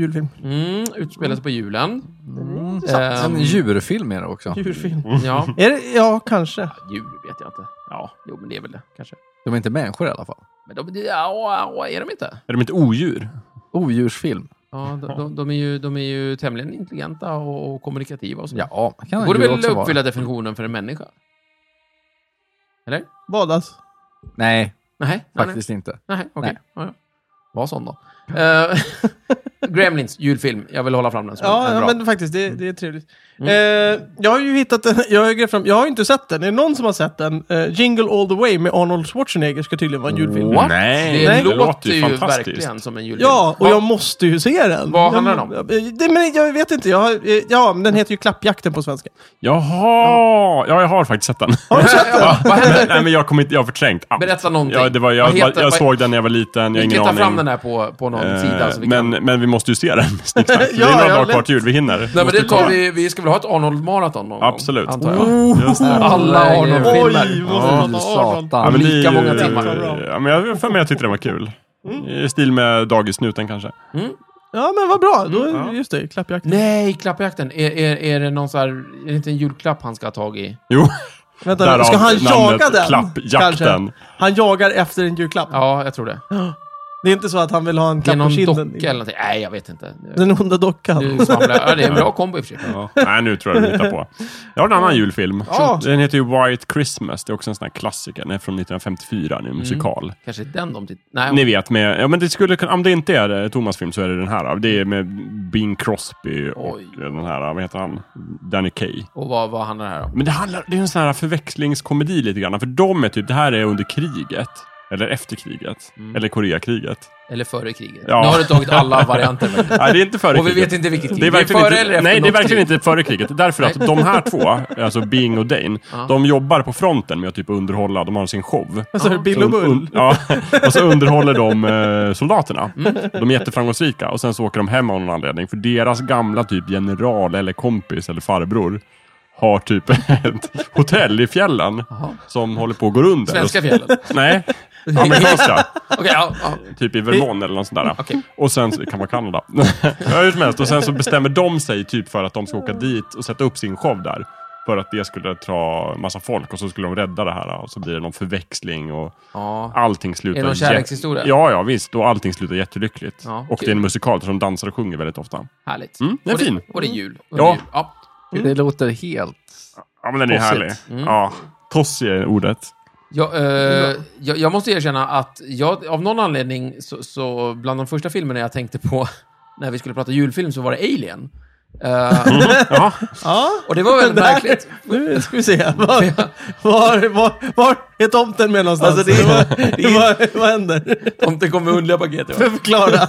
Speaker 1: julfilm.
Speaker 3: Mm, utspelas på julen.
Speaker 4: Mm.
Speaker 3: Ehm,
Speaker 4: En djurfilm är det också.
Speaker 1: Djurfilm.
Speaker 3: Ja,
Speaker 1: Är det, ja, kanske.
Speaker 3: djur vet jag inte. Ja, jo men det är väl det kanske.
Speaker 4: De är inte människor i alla fall.
Speaker 3: Men de, ja, ja, är de inte?
Speaker 2: Är de inte odjur?
Speaker 4: Odjursfilm.
Speaker 3: Ja, de, de, de, är ju, de är ju tämligen intelligenta och, och kommunikativa och så.
Speaker 4: Ja, man kan
Speaker 3: Det borde
Speaker 4: ju
Speaker 3: väl
Speaker 4: också
Speaker 3: uppfylla
Speaker 4: vara.
Speaker 3: definitionen för en människa? Eller?
Speaker 1: Badas.
Speaker 4: Nej,
Speaker 3: Nej, nej,
Speaker 4: faktiskt inte.
Speaker 3: nej. Nej, okej.
Speaker 4: Nej.
Speaker 3: Ja, ja. Var sån då. Eh, Gremlins julfilm. Jag vill hålla fram den som
Speaker 1: Ja,
Speaker 3: en
Speaker 1: ja
Speaker 3: bra. Mm.
Speaker 1: men faktiskt, det, det är trevligt. Eh, jag har ju hittat en, jag har, ju grävt fram, jag har ju inte sett den. Är det någon som har sett den? Eh, Jingle All The Way med Arnold Schwarzenegger ska tydligen vara en julfilm.
Speaker 2: What? Nej,
Speaker 3: Nej, det,
Speaker 2: det
Speaker 3: låter,
Speaker 2: låter ju
Speaker 3: ju
Speaker 2: fantastiskt.
Speaker 3: verkligen som en julfilm.
Speaker 1: Ja, och
Speaker 3: Va-
Speaker 1: jag måste ju se den.
Speaker 3: Vad handlar den om?
Speaker 1: om? Det, men jag vet inte. Jag har, eh, ja, men den heter ju Klappjakten på svenska.
Speaker 2: Jaha! Ja, jag har faktiskt sett den.
Speaker 3: Ja, Vad
Speaker 2: Men,
Speaker 3: händer?
Speaker 2: nej, men jag, kommer inte, jag har förträngt allt.
Speaker 3: Berätta någonting.
Speaker 2: Ja, det var, jag
Speaker 3: Vad heter-
Speaker 2: jag
Speaker 3: vad-
Speaker 2: såg den när jag var liten, jag har
Speaker 3: Vi
Speaker 2: ingen
Speaker 3: kan ta
Speaker 2: aning.
Speaker 3: fram den här på, på någon
Speaker 2: Eh,
Speaker 3: sida. Så vi
Speaker 2: men,
Speaker 3: kan...
Speaker 2: men vi måste ju se den. Snicksnack. det
Speaker 1: Ja,
Speaker 2: är några
Speaker 1: ja,
Speaker 2: dagar kvar
Speaker 1: lätt.
Speaker 2: till jul, vi hinner.
Speaker 3: Nej, men
Speaker 2: Måste
Speaker 3: det
Speaker 2: ta
Speaker 3: tar vi, vi ska väl ha ett Arnold-maraton någon
Speaker 2: Absolut.
Speaker 3: gång? Antar jag.
Speaker 1: Oh,
Speaker 2: Just det.
Speaker 3: Alla
Speaker 4: Alla
Speaker 3: Arnold-filmer.
Speaker 1: Oj, vi
Speaker 4: Arnold-filmer.
Speaker 1: måste prata
Speaker 4: Ja,
Speaker 1: Arnold.
Speaker 4: satan.
Speaker 2: Ja, men det är
Speaker 3: Lika
Speaker 2: ju-
Speaker 3: många timmar. Mm.
Speaker 2: Ja, men jag har för mig att jag tyckte den var kul. I stil med Dagisnuten kanske.
Speaker 1: Ja, men vad bra. Då,
Speaker 3: Mm,
Speaker 1: Just det, Klappjakten.
Speaker 3: Nej, klappjakten. Är, är, är det någon så här, är det inte en julklapp han ska ha tag i?
Speaker 2: Jo,
Speaker 1: Vänta, nu,
Speaker 2: därav
Speaker 1: ska han jaga
Speaker 2: namnet
Speaker 1: den?
Speaker 2: Klappjakten.
Speaker 1: Kanske. Han jagar efter en julklapp.
Speaker 3: Ja, jag tror det.
Speaker 1: Det är inte så att han vill ha en
Speaker 3: Det är
Speaker 1: klapp på
Speaker 3: någon
Speaker 1: kinden.
Speaker 3: docka eller någonting. Nej, jag vet inte.
Speaker 1: Den onda dockan.
Speaker 3: Nu svamlar jag. Ja, det är en bra kombo i och för sig.
Speaker 2: Ja. Nej, nu tror jag du hittar på. Jag har en annan julfilm.
Speaker 1: Ja.
Speaker 2: Den heter ju White Christmas. Det är också en sån här klassiker. Den är från 1954,
Speaker 3: Mm.
Speaker 2: nu, en musikal.
Speaker 3: Kanske den de tittar... Nej,
Speaker 2: Ni vet, med, ja, men det skulle, kunna- om det inte är eh, Thomas film så är det den här. Det är med Bing Crosby och
Speaker 3: Oj.
Speaker 2: den här, vad heter han? Danny Kaye.
Speaker 3: och vad, vad handlar det här om?
Speaker 2: Men det, handlar, det är en sån här förväxlingskomedi lite grann. För de är typ, det här är under kriget. Eller efter kriget.
Speaker 3: Mm.
Speaker 2: Eller Koreakriget.
Speaker 3: Eller före kriget?
Speaker 2: Ja.
Speaker 3: Nu har du tagit alla varianter. verkligen.
Speaker 2: Nej, det är inte före
Speaker 3: Och vi
Speaker 2: kriget.
Speaker 3: vet inte vilket krig.
Speaker 2: Det är, verkligen
Speaker 3: före
Speaker 2: inte,
Speaker 3: eller efter
Speaker 2: Nej, det är
Speaker 3: något
Speaker 2: verkligen
Speaker 3: krig.
Speaker 2: inte före kriget. Därför att de här två, alltså Bing och Dane, de jobbar på fronten med att typ underhålla, de har sin show.
Speaker 1: Alltså, Bill och
Speaker 2: Un-
Speaker 1: Bull.
Speaker 2: un- ja, och så underhåller de eh, soldaterna.
Speaker 3: Mm.
Speaker 2: De är jätteframgångsrika och sen så åker de hem av någon anledning. För deras gamla typ general eller kompis eller farbror har typ ett hotell i fjällen som håller på att gå under.
Speaker 3: Svenska fjällen.
Speaker 2: Nej, amerikanska.
Speaker 3: Okej, ja, ja.
Speaker 2: Typ i Vermont eller något sånt där.
Speaker 3: Okej.
Speaker 2: Och sen, så- det kan vara Kanada. ja, hur som helst. Och sen så bestämmer de sig typ för att de ska åka dit och sätta upp sin show där. För att det skulle dra massa folk och så skulle de rädda det här. Och så blir det någon förväxling och
Speaker 3: ja.
Speaker 2: allting slutar...
Speaker 3: Är det någon
Speaker 2: jä-
Speaker 3: kärlekshistoria?
Speaker 2: Ja, ja visst. Och allting slutar jättelyckligt.
Speaker 3: Ja,
Speaker 2: och
Speaker 3: kul.
Speaker 2: det är en musikal som dansar och sjunger väldigt ofta.
Speaker 3: Härligt.
Speaker 2: Mm, den är
Speaker 3: och, det,
Speaker 2: fin.
Speaker 3: och det är jul.
Speaker 2: Ja.
Speaker 3: Och det är jul. ja.
Speaker 4: Det låter helt...
Speaker 2: Ja, men den är
Speaker 4: Tossigt.
Speaker 2: härlig.
Speaker 3: Mm.
Speaker 2: Ja, tossig är ordet.
Speaker 3: Jag, eh, jag, jag måste erkänna att jag, av någon anledning, så, så bland de första filmerna jag tänkte på när vi skulle prata julfilm så var det Alien. Eh,
Speaker 2: Ja,
Speaker 1: Ja.
Speaker 3: och det var väldigt
Speaker 1: Det här-
Speaker 3: märkligt.
Speaker 1: Nu ska vi se. Var, var, var, var är tomten med någonstans?
Speaker 3: Alltså, det är-
Speaker 1: vad, vad, vad händer?
Speaker 3: Tomten kom med underliga paket. ja.
Speaker 1: Förklara.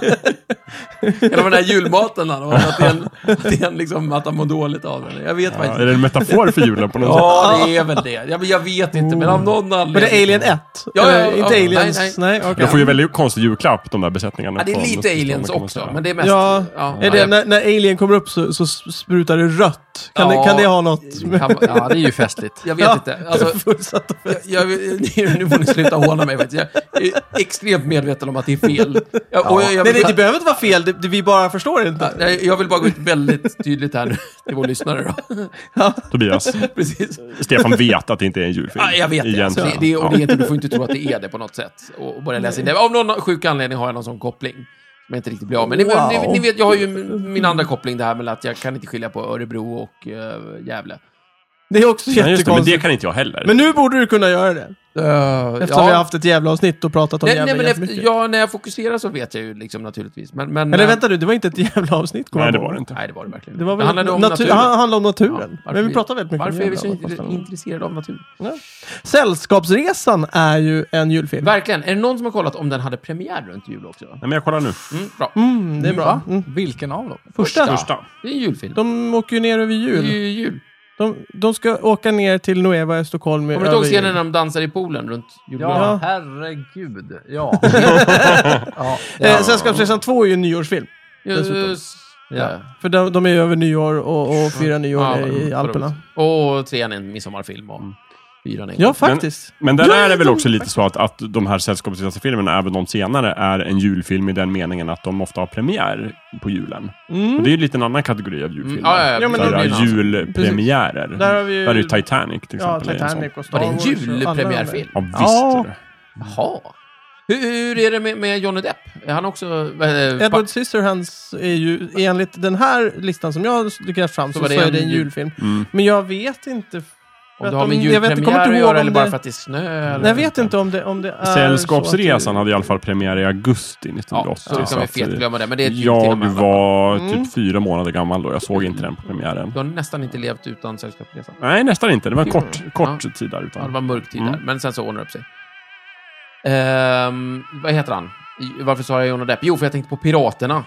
Speaker 3: Eller var den här julmaten han har, att, det är en- att, det är en liksom, att han mår dåligt av den. Jag vet faktiskt
Speaker 2: är
Speaker 3: inte.
Speaker 2: det en metafor för julen på något sätt?
Speaker 3: Ja, det är väl det. Ja, men jag vet inte, men av någon anledning.
Speaker 1: Men det är Alien 1?
Speaker 3: Ja, ja,
Speaker 1: Eh,
Speaker 3: ja,
Speaker 1: inte
Speaker 3: ja.
Speaker 1: Aliens?
Speaker 3: Nej,
Speaker 1: Nej,
Speaker 3: nej.
Speaker 1: okej.
Speaker 2: De får ju väldigt konstig julklapp, de där besättningarna.
Speaker 3: Ja, det är
Speaker 2: från-
Speaker 3: lite aliens
Speaker 2: kan man
Speaker 3: också,
Speaker 2: säga.
Speaker 3: men det är mest...
Speaker 1: Ja, Är det när, när Alien kommer upp så, så sprutar det rött? Kan,
Speaker 3: Ja.
Speaker 1: det, kan det ha något? med-
Speaker 3: Kan, vara-
Speaker 4: Ja,
Speaker 3: ja,
Speaker 4: det är ju festligt.
Speaker 3: jag vet
Speaker 1: Ja.
Speaker 3: inte. Alltså,
Speaker 1: Fullsatt och
Speaker 3: jag, jag, nu får ni sluta håna mig. Vet jag. jag är extremt medveten om att det är fel. Jag, och jag, jag,
Speaker 1: Nej, nej, det
Speaker 3: vill,
Speaker 1: behöver inte vara fel. Det, det, vi bara förstår inte.
Speaker 3: jag, jag vill bara gå ut väldigt tydligt här nu till vår lyssnare. Då.
Speaker 2: Tobias,
Speaker 3: Precis.
Speaker 2: Stefan vet att det inte är en julfilm.
Speaker 3: Ja, jag vet det. Alltså, det, det, och det är inte, du får inte tro att det är det på något sätt. Och, och börja läsa in det. Av någon sjuk anledning har jag någon sån koppling. Som jag inte riktigt blir av med. Ni, ni,
Speaker 1: Wow.
Speaker 3: ni vet, jag har ju min min andra koppling det här med att jag kan inte skilja på Örebro och uh, Gävle.
Speaker 1: Det är också
Speaker 2: Ja, just det, men
Speaker 1: jättekonstigt.
Speaker 2: det kan inte jag heller.
Speaker 1: Men nu borde du kunna göra det.
Speaker 3: Uh,
Speaker 1: Eftersom vi har haft ett jävla avsnitt och pratat om
Speaker 3: nej,
Speaker 1: jävla
Speaker 3: nej, men efter,
Speaker 1: jättemycket.
Speaker 3: ja, när jag fokuserar så vet jag ju liksom naturligtvis. Men, men,
Speaker 1: Eller
Speaker 3: eh,
Speaker 1: vänta nu, det var inte ett jävla avsnitt kom
Speaker 2: Nej,
Speaker 1: jag
Speaker 2: det
Speaker 1: på.
Speaker 2: var det inte.
Speaker 3: Nej, det var det verkligen.
Speaker 1: Det var väl
Speaker 3: det handlade om
Speaker 1: natu-
Speaker 3: naturen.
Speaker 1: han- handlade om naturen.
Speaker 3: Ja, varför
Speaker 1: men
Speaker 3: vi-
Speaker 1: vi pratar väldigt mycket
Speaker 3: Varför är
Speaker 1: om
Speaker 3: vi så
Speaker 1: jävla
Speaker 3: in-
Speaker 1: kostnader.
Speaker 3: intresserade av natur?
Speaker 1: Sällskapsresan är ju en julfilm.
Speaker 3: Verkligen. Är det någon som har kollat om den hade premiär runt jul också?
Speaker 2: Nej, men jag kollar nu.
Speaker 3: Mm, bra.
Speaker 1: Mm, det är bra.
Speaker 4: Va?
Speaker 1: Mm.
Speaker 4: Vilken av dem?
Speaker 1: Första.
Speaker 2: Första.
Speaker 3: Det är en julfilm.
Speaker 1: De åker ju ner över
Speaker 3: det är
Speaker 1: jul.
Speaker 3: ju jul.
Speaker 1: De, de ska åka ner till Nueva i Stockholm.
Speaker 3: Kommer du inte ihåg scenen när de dansar i poolen runt julgranen?
Speaker 1: Ja.
Speaker 4: herregud. Ja. ja.
Speaker 1: Eh, Sällskapsresan 2 är ju en nyårsfilm. dessutom.
Speaker 3: Just det.
Speaker 4: Ja.
Speaker 1: För de, de är ju över nyår och, och firar nyår
Speaker 3: Mm. Ja,
Speaker 1: nere i
Speaker 3: vad
Speaker 1: Alperna. Mm.
Speaker 3: roligt. Och trean är en midsommarfilm och fyran är en
Speaker 1: Ja, faktiskt.
Speaker 2: Men där
Speaker 1: Ja,
Speaker 2: är det väl
Speaker 1: de-
Speaker 2: också lite så att, att de här sällskapsresefilmerna, även de senare, är en julfilm i den meningen att de ofta har premiär på julen.
Speaker 1: Mm.
Speaker 2: Och det är ju lite en annan kategori av julfilmer.
Speaker 3: Mm, ja, ja,
Speaker 1: Ja, men
Speaker 2: Där
Speaker 1: de
Speaker 2: det
Speaker 1: blir
Speaker 2: är
Speaker 1: en annan.
Speaker 2: julpremiärer.
Speaker 1: Där har vi ju-
Speaker 2: Där är ju Titanic till exempel.
Speaker 1: Ja,
Speaker 2: är en sån.
Speaker 1: Titanic och Star
Speaker 3: Var det en
Speaker 1: Wars och alla de där.
Speaker 3: julpremiärfilm?
Speaker 2: Ja, visst
Speaker 1: Ja.
Speaker 2: är det.
Speaker 3: Jaha. Hur, hur är det med, med Johnny Depp? Är han också... eh,
Speaker 1: Edward Scissorhands är ju, enligt den här listan som jag har grävt fram, så,
Speaker 3: Så var
Speaker 1: så,
Speaker 3: det
Speaker 1: är det
Speaker 3: en
Speaker 1: en
Speaker 3: jul-
Speaker 1: julfilm.
Speaker 2: Mm.
Speaker 1: Men jag vet inte...
Speaker 3: Om det har med
Speaker 1: om- jag vet inte- kommer
Speaker 3: julpremiär
Speaker 1: inte
Speaker 3: att
Speaker 1: ihåg
Speaker 3: göra
Speaker 1: om
Speaker 3: eller bara
Speaker 1: det-
Speaker 3: för att det är snö? Eller
Speaker 1: Nej, jag vet inte om det, om det är... Äh, så att
Speaker 2: Sällskapsresan
Speaker 1: du-
Speaker 2: hade i alla fall premiär i augusti
Speaker 3: Ja,
Speaker 2: 1980.
Speaker 3: så då kan vi
Speaker 2: att, eh,
Speaker 3: fet glömma det. Men det är ett jul till och
Speaker 2: jag
Speaker 3: med.
Speaker 2: var
Speaker 1: Mm.
Speaker 2: typ fyra månader gammal då. Jag såg inte den på premiären.
Speaker 3: Du har nästan inte levt utan Sällskapsresan.
Speaker 2: Nej, nästan inte. Det var en kort, kort tid där
Speaker 3: Ja, det
Speaker 2: utan.
Speaker 3: var en mörk tid
Speaker 2: Mm.
Speaker 3: där, men sen så ordnade det upp sig. Ehm, vad heter han? I- Varför sa jag Johnny Depp? Jo, för jag tänkte på Piraterna.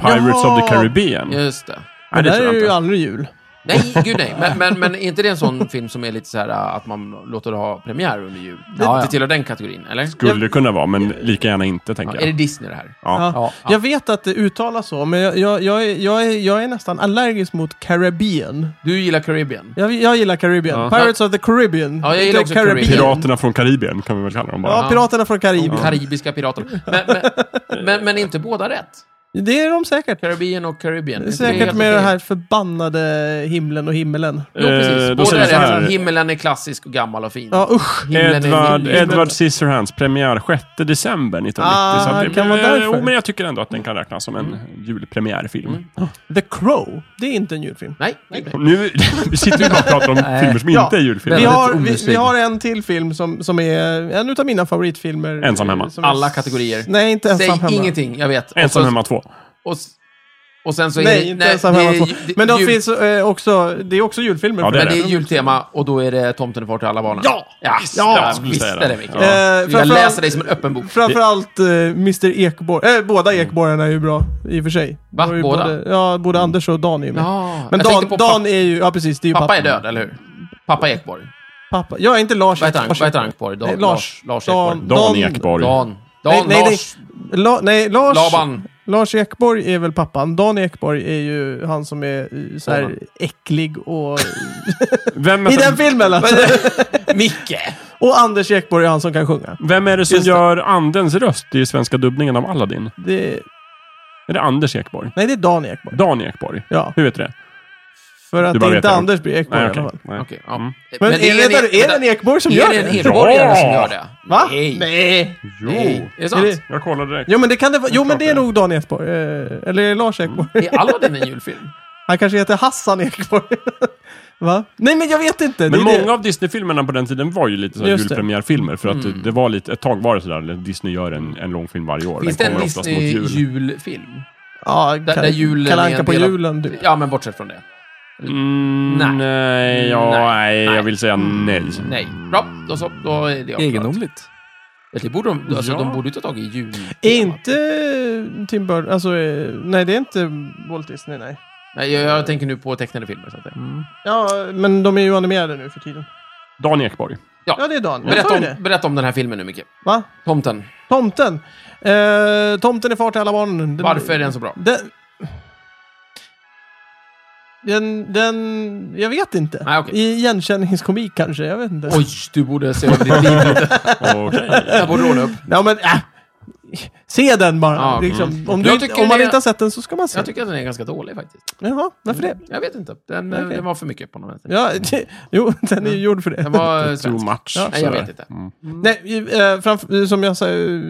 Speaker 2: Pirates of the
Speaker 1: Jaha!
Speaker 2: Caribbean.
Speaker 1: Mm.
Speaker 3: Just det.
Speaker 2: Nej,
Speaker 1: Det
Speaker 2: det
Speaker 1: där
Speaker 2: tror
Speaker 1: är
Speaker 2: jag
Speaker 1: ju
Speaker 2: inte.
Speaker 1: aldrig jul.
Speaker 3: Nej, gud nej. Men, men, men är inte det en sån film som är lite så här äh, att man låter det ha premiär under jul? Det,
Speaker 4: Ja, ja.
Speaker 3: det tillhör den kategorin, eller?
Speaker 2: Skulle kunna vara, men lika gärna inte,
Speaker 3: Ja,
Speaker 2: tänker
Speaker 3: är det
Speaker 2: jag.
Speaker 3: Disney det här?
Speaker 2: Ja.
Speaker 1: Ja.
Speaker 4: Ja,
Speaker 1: Jag vet att det uttalas så, men jag, jag, jag, är, jag, är, jag är nästan allergisk mot Caribbean.
Speaker 3: Du gillar Caribbean?
Speaker 1: Jag, jag gillar Caribbean.
Speaker 2: Ja.
Speaker 1: Pirates of the Caribbean.
Speaker 3: Ja, jag gillar
Speaker 1: The
Speaker 3: också Caribbean.
Speaker 2: Piraterna från Karibien kan vi väl kalla dem bara.
Speaker 1: Ja, Piraterna från Karibien.
Speaker 3: De karibiska piraterna. Men, men, men, men inte båda rätt?
Speaker 1: Det är de säkert.
Speaker 3: Caribbean och Caribbean.
Speaker 1: Det är
Speaker 3: Inte det
Speaker 1: säkert
Speaker 3: helt
Speaker 1: med
Speaker 3: okej?
Speaker 1: den här förbannade himlen och himmelen.
Speaker 3: Jo, precis.
Speaker 2: Eh, då
Speaker 3: båda
Speaker 2: säger
Speaker 3: är
Speaker 2: vi så här.
Speaker 3: rätt. Himlen är klassisk och gammal och fin.
Speaker 1: Ja, usch.
Speaker 3: Himlen är
Speaker 2: Edward,
Speaker 3: himlen.
Speaker 2: Edward Scissorhands premiär 6 december 1990.
Speaker 1: Ah,
Speaker 2: så att
Speaker 1: det kan vara
Speaker 2: eh,
Speaker 1: därför.
Speaker 2: Jo, men jag tycker ändå att den kan räknas som en
Speaker 3: Mm.
Speaker 2: julpremiärfilm.
Speaker 1: The Crow. Det är inte en julfilm.
Speaker 3: Nej, nej.
Speaker 2: Och Nu sitter vi bara och pratar om filmer som
Speaker 1: Ja.
Speaker 2: inte är julfilmer.
Speaker 1: Vi
Speaker 4: Väldigt
Speaker 1: har, vi, vi
Speaker 4: omdiskutabelt.
Speaker 1: har en till film som, som är en utav mina favoritfilmer.
Speaker 2: Ensam hemma.
Speaker 1: Som är-
Speaker 3: Alla kategorier.
Speaker 1: Nej, inte
Speaker 3: Säg
Speaker 1: ensam hemma.
Speaker 3: ingenting, jag vet.
Speaker 2: Ensam
Speaker 3: och så,
Speaker 2: hemma 2.
Speaker 3: Och, och sen så är
Speaker 1: Nej,
Speaker 3: det,
Speaker 1: inte ensam hemma.
Speaker 3: det är
Speaker 1: två.
Speaker 3: ju- det-
Speaker 1: Men de
Speaker 3: jul-
Speaker 1: finns eh, också, det är också julfilmer.
Speaker 2: Ja,
Speaker 1: för
Speaker 2: det
Speaker 1: mig.
Speaker 3: Men det är jultema och då är det Tomten är far till alla barnen.
Speaker 2: Ja!
Speaker 3: ja,
Speaker 2: Visst,
Speaker 3: ja
Speaker 2: jag skulle
Speaker 3: visst
Speaker 2: säga
Speaker 3: är det
Speaker 2: det.
Speaker 3: Mikael.
Speaker 2: Ja.
Speaker 1: Eh,
Speaker 3: Jag
Speaker 1: framförallt-
Speaker 3: läser dig som en öppen bok.
Speaker 1: Framförallt eh, Mr Ekborg. Eh, båda Ekborgarna är ju bra i och för sig.
Speaker 3: Va?
Speaker 1: Det var ju
Speaker 3: Båda?
Speaker 1: Både, ja, både
Speaker 2: Mm.
Speaker 1: Anders och Dan är ju med.
Speaker 3: Ja,
Speaker 1: Men
Speaker 3: jag
Speaker 1: Dan,
Speaker 3: tänkte på
Speaker 1: Dan
Speaker 3: pappa-
Speaker 1: är ju, ja precis, det är ju pappa.
Speaker 3: Pappa är död, eller hur? Pappa Ekborg.
Speaker 1: Pappa. Ja, inte Lars
Speaker 3: Vad heter han?
Speaker 1: Ekborg.
Speaker 3: Vad heter han kvar? Dan,
Speaker 1: Nej,
Speaker 3: Lars.
Speaker 1: Lars.
Speaker 3: Lars
Speaker 1: Dan-
Speaker 3: Ekborg.
Speaker 2: Dan
Speaker 1: Dan-
Speaker 2: Ekborg.
Speaker 3: Dan.
Speaker 1: Nej,
Speaker 3: Dan,
Speaker 1: nej, nej.
Speaker 3: Lars.
Speaker 1: La, nej, Lars,
Speaker 3: Laban.
Speaker 1: Lars Ekborg är väl pappan. Dan Ekborg är ju han som är eh, så här
Speaker 3: Laban.
Speaker 1: äcklig och...
Speaker 2: Vem, är
Speaker 1: I den
Speaker 2: som,
Speaker 1: filmen alltså!
Speaker 3: Micke!
Speaker 1: Och Anders Ekborg är han som kan sjunga.
Speaker 2: vem är det som
Speaker 3: Just det.
Speaker 2: gör andens röst i svenska dubbningen av Aladdin?
Speaker 1: Det,
Speaker 2: Är det Anders Ekborg?
Speaker 1: nej, det är Dan Ekborg.
Speaker 2: Dan Ekborg?
Speaker 1: Ja,
Speaker 2: Hur vet du det?
Speaker 1: för att
Speaker 2: Du
Speaker 1: det
Speaker 2: bara
Speaker 1: är
Speaker 2: vet
Speaker 1: inte
Speaker 2: det.
Speaker 1: Anders blir Ekborg
Speaker 2: Nej,
Speaker 1: i
Speaker 2: okej.
Speaker 1: alla fall.
Speaker 2: Nej.
Speaker 3: Okej, ja.
Speaker 2: Mm.
Speaker 1: Men, är, det,
Speaker 3: en- e-
Speaker 1: är det en Ekborg som
Speaker 3: är
Speaker 1: gör
Speaker 3: det
Speaker 1: det?
Speaker 3: en Edborgare som
Speaker 2: Ja!
Speaker 3: gör det?
Speaker 1: Va?
Speaker 3: Nej.
Speaker 1: Nej.
Speaker 2: Jo,
Speaker 3: Är det
Speaker 1: Är
Speaker 3: sant?
Speaker 1: det-
Speaker 2: jag kollade direkt.
Speaker 1: Jo men det kan det vara. Jo men
Speaker 2: klart
Speaker 1: det är
Speaker 2: det är.
Speaker 1: nog Dan Ekborg. Eh, Eller är det Lars Ekborg?
Speaker 3: Är Aladdin en julfilm?
Speaker 1: Han kanske heter Hassan Ekborg. Va? Nej men jag vet inte.
Speaker 2: Men
Speaker 1: det är
Speaker 2: många av Disney-filmerna på den tiden var ju lite så här
Speaker 1: Just det.
Speaker 2: julpremiärfilmer. För att
Speaker 3: Mm.
Speaker 2: det var lite, ett tag var det sådär, att Disney gör en, en långfilm varje år.
Speaker 3: Finns det en
Speaker 2: kommer oftast mot jul.
Speaker 3: Disney-julfilm?
Speaker 1: det. Ja,
Speaker 3: Där, där julen
Speaker 1: Kalle
Speaker 3: är
Speaker 1: Anka
Speaker 3: en
Speaker 1: på
Speaker 3: del av-
Speaker 1: julen. Du.
Speaker 3: Ja, men bortsett från det.
Speaker 2: Mm,
Speaker 3: Nej.
Speaker 2: nej. ja,
Speaker 3: Nej. Mm.
Speaker 2: nej, jag vill säga nej.
Speaker 3: Nej. Bra, då så. Då är det avklarat.
Speaker 4: egendomligt.
Speaker 3: Ja, Det borde de, alltså,
Speaker 2: Ja.
Speaker 3: de borde ju ta tag i jul.
Speaker 1: Är inte Tim Burton, alltså eh, nej det är inte Walt Disney nej.
Speaker 3: Nej, jag, jag tänker nu på tecknade filmer. Så att
Speaker 1: Mm.
Speaker 3: säga.
Speaker 1: Ja, men de är ju animerade nu för tiden.
Speaker 2: Dan Ekborg.
Speaker 1: Ja, det är Dan. Jag
Speaker 3: Berätta,
Speaker 1: sa ju
Speaker 3: om,
Speaker 1: det.
Speaker 3: berätta om den här filmen nu, Micke.
Speaker 1: Va?
Speaker 3: Tomten.
Speaker 1: Tomten. Eh, tomten är far till alla barnen. Den-
Speaker 3: Varför är den så bra?
Speaker 1: Den... Den, den, jag vet inte.
Speaker 3: Nej, okej.
Speaker 1: I igenkänningskomik kanske, jag vet inte.
Speaker 3: Oj, du borde se över ditt liv.
Speaker 2: Okej.
Speaker 3: Jag borde ordna upp.
Speaker 1: Ja, men, äh. Se den bara.
Speaker 3: Ja,
Speaker 1: liksom.
Speaker 3: mm.
Speaker 1: om,
Speaker 3: Jag
Speaker 1: du,
Speaker 3: tycker
Speaker 1: inte- om man
Speaker 3: det-
Speaker 1: inte har sett den så ska man se
Speaker 3: Jag
Speaker 1: den.
Speaker 3: tycker att den är ganska dålig faktiskt.
Speaker 1: Jaha, varför det?
Speaker 3: Jag vet inte. Den, eh,
Speaker 1: Okej.
Speaker 3: den var för mycket på något sätt.
Speaker 1: Ja, det, jo, den är ju gjord för det.
Speaker 3: Den var eh,
Speaker 2: Too
Speaker 3: svensk.
Speaker 2: much.
Speaker 1: Ja.
Speaker 3: Nej, jag vet inte.
Speaker 2: Mm.
Speaker 1: Nej, ju, eh, framför, som jag sa, eh,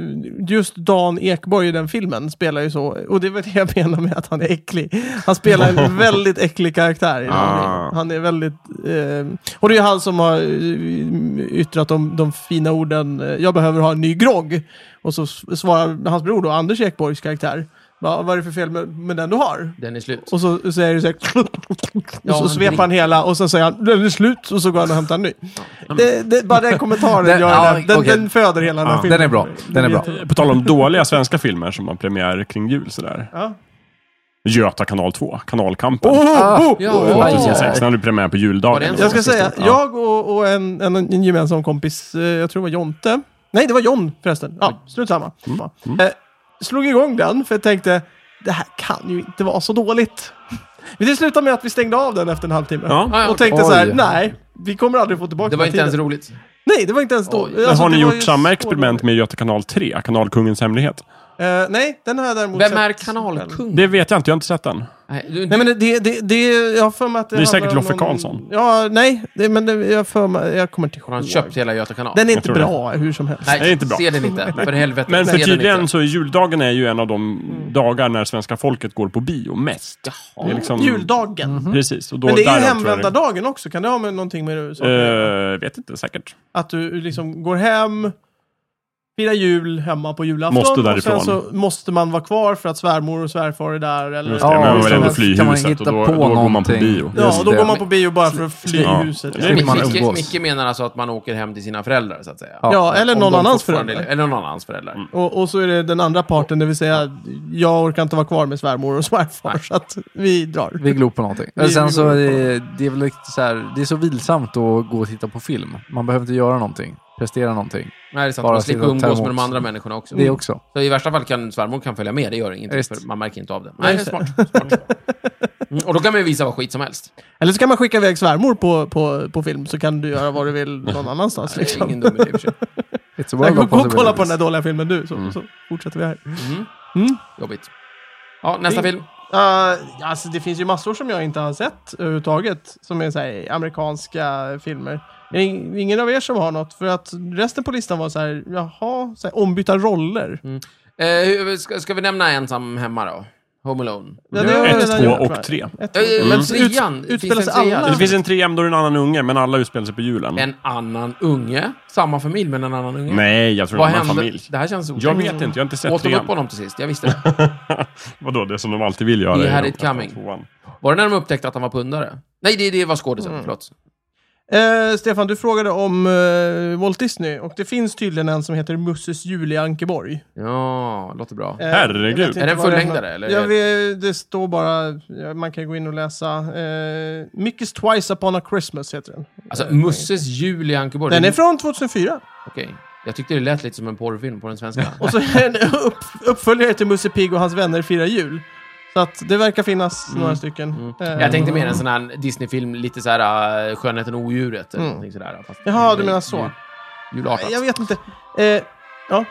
Speaker 1: just Dan Ekborg i den filmen spelar ju så, och det är väl det jag menar med att han är äcklig. Han spelar en väldigt äcklig karaktär. i den
Speaker 2: Ah.
Speaker 1: filmen. Han är väldigt... Eh, och det är han som har eh, yttrat de, de fina orden eh, “Jag behöver ha en ny grogg”. Och så s- svarar hans bror då, Anders Ekborgs karaktär, Va, “Vad är det för fel med, med den du har?”
Speaker 3: Den är slut.
Speaker 1: Och så säger det så här,
Speaker 3: Ja,
Speaker 1: och så
Speaker 3: han
Speaker 1: svepar han hela och sen säger han den är slut och så går han och hämtar en ny.
Speaker 3: men-
Speaker 1: Det, det, bara den kommentaren
Speaker 4: Den-
Speaker 1: gör
Speaker 4: ja,
Speaker 1: den, den,
Speaker 4: okej.
Speaker 1: den föder hela den här
Speaker 2: Ja.
Speaker 1: filmen.
Speaker 4: Den är bra. Den är bra.
Speaker 2: På tal om dåliga svenska filmer som har premiär kring jul sådär.
Speaker 1: Ja.
Speaker 2: Göta kanal 2, Kanalkampen.
Speaker 1: Oh, oh,
Speaker 3: ja.
Speaker 1: oh, oh.
Speaker 2: 2006, den hade premiär på
Speaker 3: Var det
Speaker 2: juldagen.
Speaker 3: en
Speaker 1: Jag ska
Speaker 2: Sista-
Speaker 1: säga,
Speaker 2: ja.
Speaker 1: jag och, och en, en, en gemensam kompis, eh, jag tror det var Jonte. Nej, det var John förresten. Ja, strunt samma. Eh, slog igång den för jag tänkte, det här kan ju inte vara så dåligt. Men det slutade med att vi stängde av den efter en halvtimme.
Speaker 2: Ja.
Speaker 3: Ah, Ja, ja,
Speaker 1: Och tänkte så här,
Speaker 4: Oj.
Speaker 1: nej, vi kommer aldrig få tillbaka
Speaker 3: Det var
Speaker 1: den
Speaker 3: inte ens
Speaker 1: tiden.
Speaker 3: roligt.
Speaker 1: Nej, det var inte ens då.
Speaker 3: Oj.
Speaker 2: Men
Speaker 1: Alltså,
Speaker 2: har ni
Speaker 1: det var
Speaker 2: gjort
Speaker 1: ju
Speaker 2: samma
Speaker 1: så
Speaker 2: experiment
Speaker 1: dåligt.
Speaker 2: med Göta kanal 3, Kanalkungens hemlighet?
Speaker 1: Eh, nej, den har jag däremot
Speaker 3: Vem
Speaker 1: sett
Speaker 3: är
Speaker 1: själv.
Speaker 3: kanalkung?
Speaker 2: Det vet jag inte, jag har inte sett den.
Speaker 3: Nej, du,
Speaker 1: Nej men det, det, det, det jag har för mig att det
Speaker 2: Det är säkert
Speaker 1: handlar om
Speaker 2: Loffe
Speaker 1: någon-
Speaker 2: Karlsson.
Speaker 1: Ja, nej, det, men det, jag har för mig, jag kommer inte
Speaker 3: har han
Speaker 1: ihåg.
Speaker 3: köpt hela Göta kanal?
Speaker 1: Den är
Speaker 2: Jag
Speaker 1: inte
Speaker 2: tror det.
Speaker 1: bra hur som helst.
Speaker 3: Nej,
Speaker 2: Det är inte bra.
Speaker 3: se den inte. För helvete.
Speaker 2: Men för
Speaker 3: se den
Speaker 2: tydligen
Speaker 3: inte. Mm.
Speaker 2: så är juldagen är ju en av de dagar när svenska folket går på bio mest. Det är liksom,
Speaker 1: Juldagen.
Speaker 2: Precis. Och då,
Speaker 1: Men det är ju
Speaker 2: därav tror jag det-
Speaker 1: hemvändardagen också, kan det ha med någonting med det uh.
Speaker 2: Eh, vet inte säkert.
Speaker 1: Att du liksom går hem, firar jul hemma på julafton.
Speaker 2: Måste
Speaker 1: Och
Speaker 2: därifrån.
Speaker 1: sen så måste man vara kvar för att svärmor och svärfar är där. Eller...
Speaker 2: Just det, men man
Speaker 4: just
Speaker 2: vill
Speaker 4: det.
Speaker 2: ändå fly
Speaker 4: Kan man
Speaker 2: huset och
Speaker 4: hitta
Speaker 2: då,
Speaker 4: på
Speaker 2: då går man på
Speaker 4: någonting?
Speaker 2: bio.
Speaker 1: Ja,
Speaker 4: Just
Speaker 1: och då
Speaker 4: det.
Speaker 1: går man på bio bara för att fly
Speaker 2: Ja.
Speaker 1: huset.
Speaker 2: Det är
Speaker 4: man
Speaker 3: Micke-
Speaker 4: umgås.
Speaker 3: Micke menar alltså att man åker hem till sina föräldrar, så att säga.
Speaker 4: Ja,
Speaker 1: Ja, eller
Speaker 3: Om
Speaker 1: någon
Speaker 3: de
Speaker 1: annans
Speaker 3: fortfarande-
Speaker 1: föräldrar.
Speaker 3: Eller någon annans föräldrar.
Speaker 1: Och, och så är det den andra parten, det vill säga jag orkar inte vara kvar med svärmor och svärfar så att vi drar.
Speaker 4: Vi glor på någonting.
Speaker 1: Vi- vi
Speaker 4: Sen så
Speaker 1: glor
Speaker 4: är
Speaker 1: på
Speaker 4: det, det är väl lite så här, det är så vilsamt att gå och titta på film. Man behöver inte göra någonting, prestera någonting.
Speaker 3: Nej, det är sant.
Speaker 4: Bara
Speaker 3: man slipper
Speaker 4: sitta och ta
Speaker 3: umgås med
Speaker 4: emot.
Speaker 3: de andra människorna också.
Speaker 4: Det också.
Speaker 3: Så i värsta fall kan svärmor kan följa med, det gör ingenting.
Speaker 4: Just.
Speaker 3: För man märker inte av det.
Speaker 1: Nej,
Speaker 3: Nej, det är smart. smart. Mm, och då kan man ju visa vad skit som helst.
Speaker 1: Eller så kan man skicka iväg svärmor på, på, på film så kan du göra vad du vill någon annanstans.
Speaker 3: Det är
Speaker 1: Liksom.
Speaker 3: ingen dum idé i och för sig.
Speaker 4: It's a
Speaker 1: Nej,
Speaker 4: world
Speaker 1: gå,
Speaker 4: of
Speaker 1: gå och kolla på den
Speaker 4: possibilities.
Speaker 1: där dåliga filmen du,
Speaker 3: Mm.
Speaker 1: så, så fortsätter vi här.
Speaker 3: Mhm.
Speaker 1: Mm.
Speaker 3: Jobbigt. Ja, nästa
Speaker 1: Det-
Speaker 3: film.
Speaker 1: Uh, alltså, det finns ju massor som jag inte har sett överhuvudtaget, som är så här, amerikanska filmer. Är det ing- ingen av er som har något? För att resten på listan var så här, jaha, så här, ombytta roller.
Speaker 3: Eh, hur- ska, ska vi nämna ensam hemma då? Home Alone.
Speaker 1: Ja, det har jag
Speaker 2: Ett,
Speaker 1: redan
Speaker 2: två
Speaker 1: gjort, tror
Speaker 2: och
Speaker 1: jag.
Speaker 2: tre.
Speaker 1: Ett, två,
Speaker 3: Eh,
Speaker 1: tre.
Speaker 3: Men
Speaker 1: Ut-
Speaker 3: trean?
Speaker 1: utspelar
Speaker 3: finns det
Speaker 1: sig
Speaker 3: en trea?
Speaker 1: alla-
Speaker 2: Det finns en tre då är det en annan unge, men alla utspelar sig på julen.
Speaker 3: En annan unge? Samma familj, men en annan unge?
Speaker 2: Nej, jag tror det
Speaker 3: Vad
Speaker 2: är en annan
Speaker 3: hände?
Speaker 2: familj.
Speaker 3: Det här känns otäckt.
Speaker 2: Jag vet inte, jag har inte sett
Speaker 3: Åt de upp
Speaker 2: trean.
Speaker 3: honom till sist? Jag visste det.
Speaker 2: Vadå, det som de alltid vill göra.
Speaker 3: We
Speaker 2: i
Speaker 3: had
Speaker 2: de-
Speaker 3: it coming.
Speaker 2: tvåan.
Speaker 3: Var det när de upptäckte att han var pundare? Nej, det, det var skådisen.
Speaker 1: Mm.
Speaker 3: Förlåt.
Speaker 1: Eh, Stefan, du frågade om eh, Walt Disney och det finns tydligen en som heter Musses jul i Ankeborg.
Speaker 3: Ja, låter bra.
Speaker 1: Eh,
Speaker 2: Herregud.
Speaker 1: jag vet inte
Speaker 3: Är det en
Speaker 1: vad
Speaker 3: fullängdare,
Speaker 1: handlar-
Speaker 3: eller?
Speaker 1: Jag vet, det står bara, ja, man kan gå in och läsa. Eh, Mickey's Twice Upon a Christmas heter den. Eh,
Speaker 3: Alltså, Musses jul i Ankeborg.
Speaker 1: Den
Speaker 3: det-
Speaker 1: är från 2004.
Speaker 3: Okej. Jag tyckte det lät lite som en porrfilm på den svenska.
Speaker 1: Och så är det en upp, uppföljare till Musse Pigg och hans vänner firar jul. Så att det verkar finnas några stycken. Eh,
Speaker 3: Mm. Jag tänkte mer en sån här Disney-film, lite så här äh, Skönheten och odjuret eller någonting sådär. Fast
Speaker 1: Mm. Jaha, du menar så.
Speaker 3: Julartat.
Speaker 1: Jag vet inte. Eh, ja.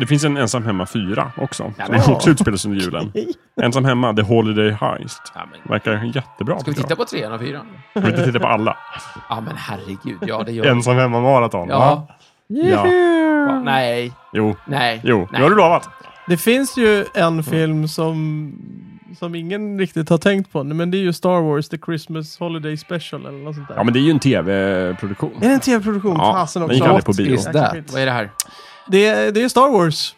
Speaker 2: Det finns en ensam hemma fyra också.
Speaker 3: Ja,
Speaker 2: Som
Speaker 3: men-
Speaker 2: också utspelar sig under julen. Ensam hemma, The Holiday Heist.
Speaker 3: Ja, men,
Speaker 2: Verkar jättebra.
Speaker 3: ska vi titta på trean och fyran?
Speaker 2: på? Vi titta på alla.
Speaker 3: Ja, men herregud. Ja, det gör vi.
Speaker 2: Ensam hemma-maraton.
Speaker 3: Ja.
Speaker 2: Ja.
Speaker 3: Va? Nej.
Speaker 2: Jo,
Speaker 3: Nej.
Speaker 2: jo.
Speaker 3: Nej.
Speaker 2: Nu har du lovat.
Speaker 1: Det finns ju
Speaker 3: Mm.
Speaker 1: en film som, som ingen riktigt har tänkt på, men det är ju Star Wars The Christmas Holiday Special eller något sånt där.
Speaker 2: Ja, men det är ju en tv-produktion.
Speaker 1: Är det en tv-produktion?
Speaker 2: Ja,
Speaker 1: Fasen
Speaker 2: den
Speaker 1: också.
Speaker 2: gick aldrig på bio.
Speaker 4: Is that?
Speaker 1: Shit.
Speaker 3: Vad är det här?
Speaker 1: Det, är- det är Star Wars.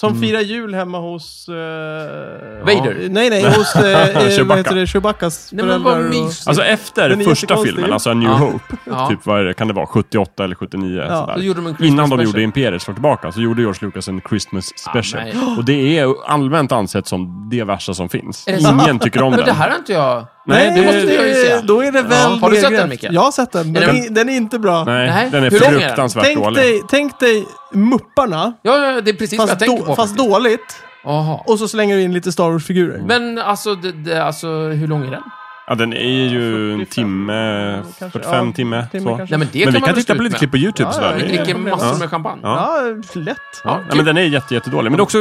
Speaker 1: Som firar jul hemma hos... eh,
Speaker 3: Mm. Vader?
Speaker 1: Nej, nej, hos eh, eh, vad
Speaker 2: Chewbacca.
Speaker 1: heter det? Chewbaccas
Speaker 3: Nej, men vad
Speaker 1: föräldrar och-
Speaker 3: mysigt.
Speaker 2: Alltså
Speaker 1: Den är
Speaker 2: efter första
Speaker 1: jättekonstig.
Speaker 2: filmen, alltså A New
Speaker 3: Ja.
Speaker 2: Hope,
Speaker 3: Ja.
Speaker 2: typ vad är det, kan det vara, 78 eller 79?
Speaker 1: Ja,
Speaker 2: sådär.
Speaker 3: då gjorde de en Christmas
Speaker 2: Innan de
Speaker 3: special.
Speaker 2: gjorde Imperiet slår tillbaka så gjorde George Lucas en Christmas special.
Speaker 3: Ah,
Speaker 2: och det är allmänt ansett som det värsta som finns.
Speaker 3: Är det
Speaker 2: Ingen tycker om
Speaker 3: Men det
Speaker 2: den.
Speaker 3: här har inte jag...
Speaker 2: Nej,
Speaker 1: Nej, det
Speaker 2: det-
Speaker 1: måste jag ju säga. Då är det väl
Speaker 3: Har du sett
Speaker 1: nedgrävt.
Speaker 3: den, Micke?
Speaker 1: Jag har sett den, men
Speaker 3: Är den-
Speaker 1: den, den är inte bra.
Speaker 2: Nej,
Speaker 3: Nej.
Speaker 2: den är
Speaker 3: Hur lång är den?
Speaker 2: fruktansvärt
Speaker 1: Tänk
Speaker 2: dålig.
Speaker 1: dig, tänk dig Mupparna,
Speaker 3: Ja, ja, det är precis vad jag
Speaker 1: fast,
Speaker 3: tänker
Speaker 1: då,
Speaker 3: på.
Speaker 1: fast
Speaker 3: faktiskt.
Speaker 1: dåligt.
Speaker 3: Jaha.
Speaker 1: Och så slänger du in lite Star Wars-figurer.
Speaker 3: Men alltså, det, det, alltså, hur lång är den?
Speaker 2: Ja, den är ju en
Speaker 1: 45,
Speaker 2: timme,
Speaker 1: kanske.
Speaker 2: 45
Speaker 1: Ja,
Speaker 2: timme.
Speaker 1: timme
Speaker 2: så.
Speaker 1: kanske.
Speaker 3: Nej, men det
Speaker 2: Men vi
Speaker 3: kan man
Speaker 2: kan
Speaker 3: väl
Speaker 2: titta på
Speaker 3: stå ut
Speaker 2: lite
Speaker 3: med.
Speaker 2: klipp på YouTube.
Speaker 1: Ja,
Speaker 2: sådär.
Speaker 1: ja,
Speaker 3: Vi
Speaker 2: Det är-
Speaker 1: ja.
Speaker 3: dricker
Speaker 1: Ja.
Speaker 3: massor med champagne.
Speaker 2: Ja.
Speaker 1: Ja, lätt.
Speaker 2: Ja,
Speaker 3: kul.
Speaker 2: nej, men den är jätte, jättedålig. Men det är också,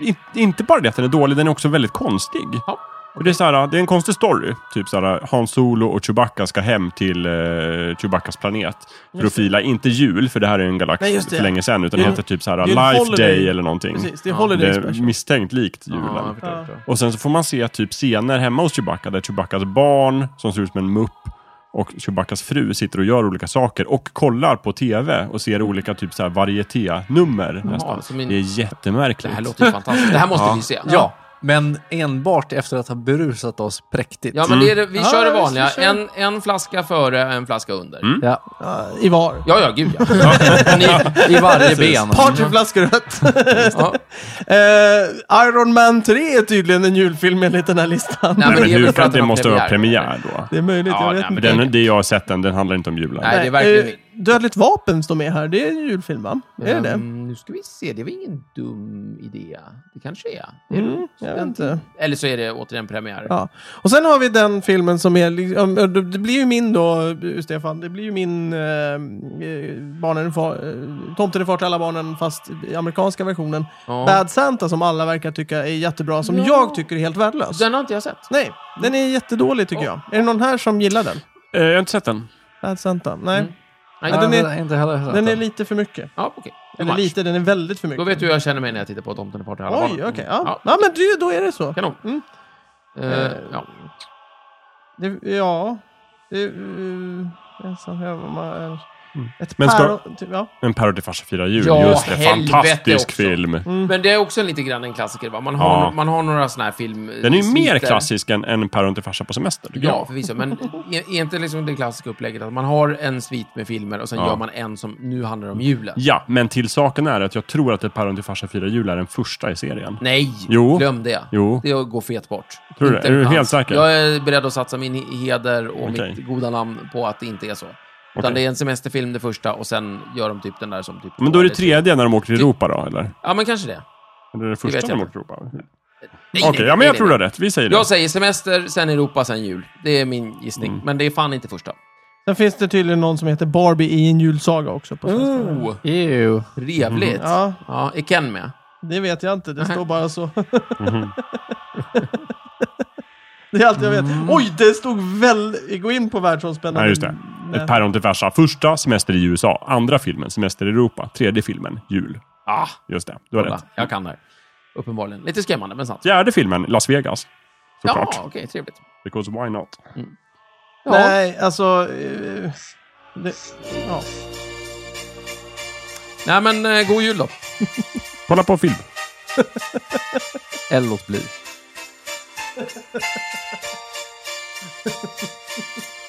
Speaker 2: i- inte bara det att den är dålig, den är också väldigt konstig.
Speaker 3: Ja.
Speaker 2: Och det, är såhär, det är en konstig story. Typ såhär, Han Solo och Chewbacca ska hem till eh, Chewbaccas planet. För att fira, inte jul, för det här är en galax
Speaker 1: Nej, just det.
Speaker 2: för länge sedan. Utan det
Speaker 1: Det är-
Speaker 2: heter typ såhär,
Speaker 1: det är en
Speaker 2: Life
Speaker 1: holiday.
Speaker 2: Day eller någonting.
Speaker 1: Precis, det är
Speaker 3: Ja.
Speaker 2: Det
Speaker 1: Holiday
Speaker 2: är
Speaker 1: Special.
Speaker 2: misstänkt likt julen.
Speaker 3: Ja, jag förstår, jag förstår.
Speaker 2: Och sen så får man se typ scener hemma hos Chewbacca där Chewbaccas barn, som ser ut som en mupp, och Chewbaccas fru sitter och gör olika saker och kollar på TV och ser olika typ så här varieté-nummer nästan.
Speaker 3: som en-
Speaker 2: Det är
Speaker 3: alltså, Det
Speaker 2: jättemärkligt.
Speaker 3: här låter ju fantastiskt. Det här måste vi se.
Speaker 4: Ja, men enbart efter att ha berusat oss präktigt.
Speaker 3: Ja, men det är, det- vi
Speaker 1: Ja,
Speaker 3: kör det
Speaker 1: visst, vi
Speaker 3: vanliga.
Speaker 1: kör.
Speaker 3: En, en flaska före, en flaska under.
Speaker 2: Mm.
Speaker 4: Ja,
Speaker 1: Ja, I var.
Speaker 3: Ja, ja, gud ja. ja. Ni,
Speaker 4: I varje ben. Mm.
Speaker 1: Partyflaskor rött.
Speaker 3: ja.
Speaker 1: Eh, Iron Man 3 är tydligen en julfilm enligt den här listan.
Speaker 3: Nej,
Speaker 2: Nej, men
Speaker 3: är väl
Speaker 2: hur
Speaker 3: för att
Speaker 2: kan det
Speaker 3: den har
Speaker 2: måste vara premiär då?
Speaker 1: Det är möjligt,
Speaker 3: Ja,
Speaker 1: jag vet
Speaker 3: nej,
Speaker 1: inte.
Speaker 3: men
Speaker 2: Den, det jag har sett den, den handlar inte om julen.
Speaker 3: Nej, det är verkligen...
Speaker 1: eh, Dödligt vapen står med här. Det är en julfilm, va? Är det
Speaker 3: Ehm,
Speaker 1: det?
Speaker 3: Nu ska vi se, det var ingen dum idé. Det kanske är. Det är
Speaker 1: Mm, jag vet
Speaker 3: den-
Speaker 1: inte.
Speaker 3: Eller så är det återigen premiär.
Speaker 1: Ja. Och sen har vi den filmen som är, liksom- det blir ju min då, eh, Stefan, det blir ju min eh, eh, barnen, är far, eh, Tomten är far till alla barnen, fast i amerikanska versionen.
Speaker 3: Ja.
Speaker 1: Bad Santa som alla verkar tycka är jättebra, som
Speaker 3: Ja.
Speaker 1: jag tycker är helt värdelös.
Speaker 3: Den har inte jag sett.
Speaker 1: Nej, den är jättedålig tycker jag. Är det någon här som gillar den?
Speaker 2: Eh, jag har inte sett den.
Speaker 1: Bad Santa? Nej.
Speaker 3: Mm. Nej,
Speaker 1: Ja, den är-
Speaker 4: inte heller sett
Speaker 1: Den är
Speaker 4: den.
Speaker 1: lite för mycket.
Speaker 3: Ja, okej.
Speaker 1: Eller
Speaker 3: Mars.
Speaker 1: lite, den är väldigt för mycket.
Speaker 3: Då vet du hur jag känner mig när jag tittar på Tomten är far till alla
Speaker 1: Oj,
Speaker 3: barn.
Speaker 1: okej.
Speaker 3: Mm.
Speaker 1: ja. ja. men du, då är det så.
Speaker 3: Kanon.
Speaker 1: Mm.
Speaker 3: Eh, ja.
Speaker 1: Det, ja. Det, uh, ensam hemma är... Ett
Speaker 2: Men ska-
Speaker 1: päron... Typ, ja.
Speaker 2: En Parodifarsa firar jul.
Speaker 3: Ja,
Speaker 2: Just det.
Speaker 3: helvete
Speaker 2: Fantastisk
Speaker 3: också. Mm,
Speaker 2: film.
Speaker 1: mm.
Speaker 3: Men det är också en lite grann en klassiker, va? Man har,
Speaker 2: Ja.
Speaker 3: man har några sådana här film...
Speaker 2: Den är ju mer
Speaker 3: sviter.
Speaker 2: klassisk än, än Päron till farsa på semester. tycker
Speaker 3: Ja, förvisso. Men är, är inte liksom det klassiska upplägget att man har en svit med filmer och sen
Speaker 2: Ja.
Speaker 3: gör man en som nu handlar om julen?
Speaker 2: jag. ja, men till saken är att jag tror att ett Päron till farsa firar jul är den första i serien.
Speaker 3: Nej,
Speaker 2: Jo.
Speaker 3: glöm det.
Speaker 2: Jo.
Speaker 3: Det går fet bort.
Speaker 2: Tror du
Speaker 3: Inte
Speaker 2: det? Är du helt
Speaker 3: alls.
Speaker 2: säker?
Speaker 3: Jag är beredd att satsa min heder och
Speaker 2: Okej.
Speaker 3: mitt goda namn på att det inte är så. Utan
Speaker 2: Okej.
Speaker 3: det är en semesterfilm det första och sen gör de typ den där som typ...
Speaker 2: Men då är det tredje när de åker till Europa då, eller?
Speaker 3: Ja, men kanske det.
Speaker 2: Eller är det
Speaker 3: vet
Speaker 2: första
Speaker 3: jag
Speaker 2: när de åker
Speaker 3: inte.
Speaker 2: till Europa? Okej,
Speaker 3: Nej, nej,
Speaker 2: ja, men
Speaker 3: nej,
Speaker 2: jag
Speaker 3: nej,
Speaker 2: tror du
Speaker 3: nej.
Speaker 2: har rätt. Vi säger det.
Speaker 3: Jag säger semester, sen Europa, sen jul. Det är min gissning.
Speaker 2: Mm.
Speaker 3: Men det är fan inte första.
Speaker 1: Sen finns det tydligen någon som heter Barbie i en julsaga också på svenska.
Speaker 3: Oh,
Speaker 4: Ew.
Speaker 3: trevligt. Ja.
Speaker 1: Mm, Ja,
Speaker 3: är Ken med?
Speaker 1: det vet jag inte. Det står bara så. det är allt jag vet. Oj, det stod väl... Gå in på världsomspännande...
Speaker 2: Nej, just det. Ett Päron till farsa. Första, Semester i USA. Andra filmen, Semester i Europa. Tredje filmen, Jul.
Speaker 3: Ah,
Speaker 2: Just det, du har
Speaker 3: kolla,
Speaker 2: rätt.
Speaker 3: jag kan det här. Uppenbarligen. Lite skrämmande, men sant.
Speaker 2: Fjärde filmen, Las Vegas.
Speaker 3: Ja,
Speaker 2: Såklart.
Speaker 3: okej, trevligt.
Speaker 2: Because why not?
Speaker 3: Ja.
Speaker 1: Nej, alltså... eh, Det, ja.
Speaker 3: Nej, men eh, god jul då.
Speaker 2: Kolla på film.
Speaker 4: Eller låt bli.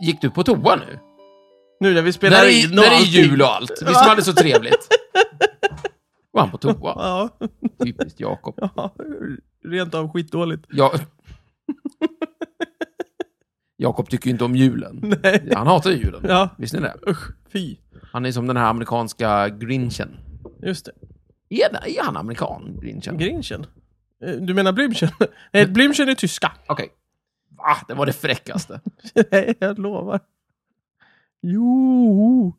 Speaker 3: Gick du på toa nu?
Speaker 1: Nu när vi
Speaker 3: Där
Speaker 1: spelar
Speaker 3: är,
Speaker 1: in
Speaker 3: där är
Speaker 1: allting.
Speaker 3: jul och allt. Vi som hade så trevligt. Går han på toa?
Speaker 1: Ja,
Speaker 3: Typiskt Jakob.
Speaker 1: ja, rent av skitdåligt.
Speaker 3: Ja. Jakob tycker ju inte om julen. Han hatar ju julen.
Speaker 1: Ja.
Speaker 3: Visste ni det?
Speaker 1: Usch, fy.
Speaker 3: Han är som den här amerikanska grinchen.
Speaker 1: Just det.
Speaker 3: Är, är han amerikan, grinchen?
Speaker 1: Grinchen? Eh, Du menar Blümchen? Nej, Blümchen är tyska.
Speaker 3: Okej. Va? Det var det fräckaste.
Speaker 1: Nej, jag lovar. Jo.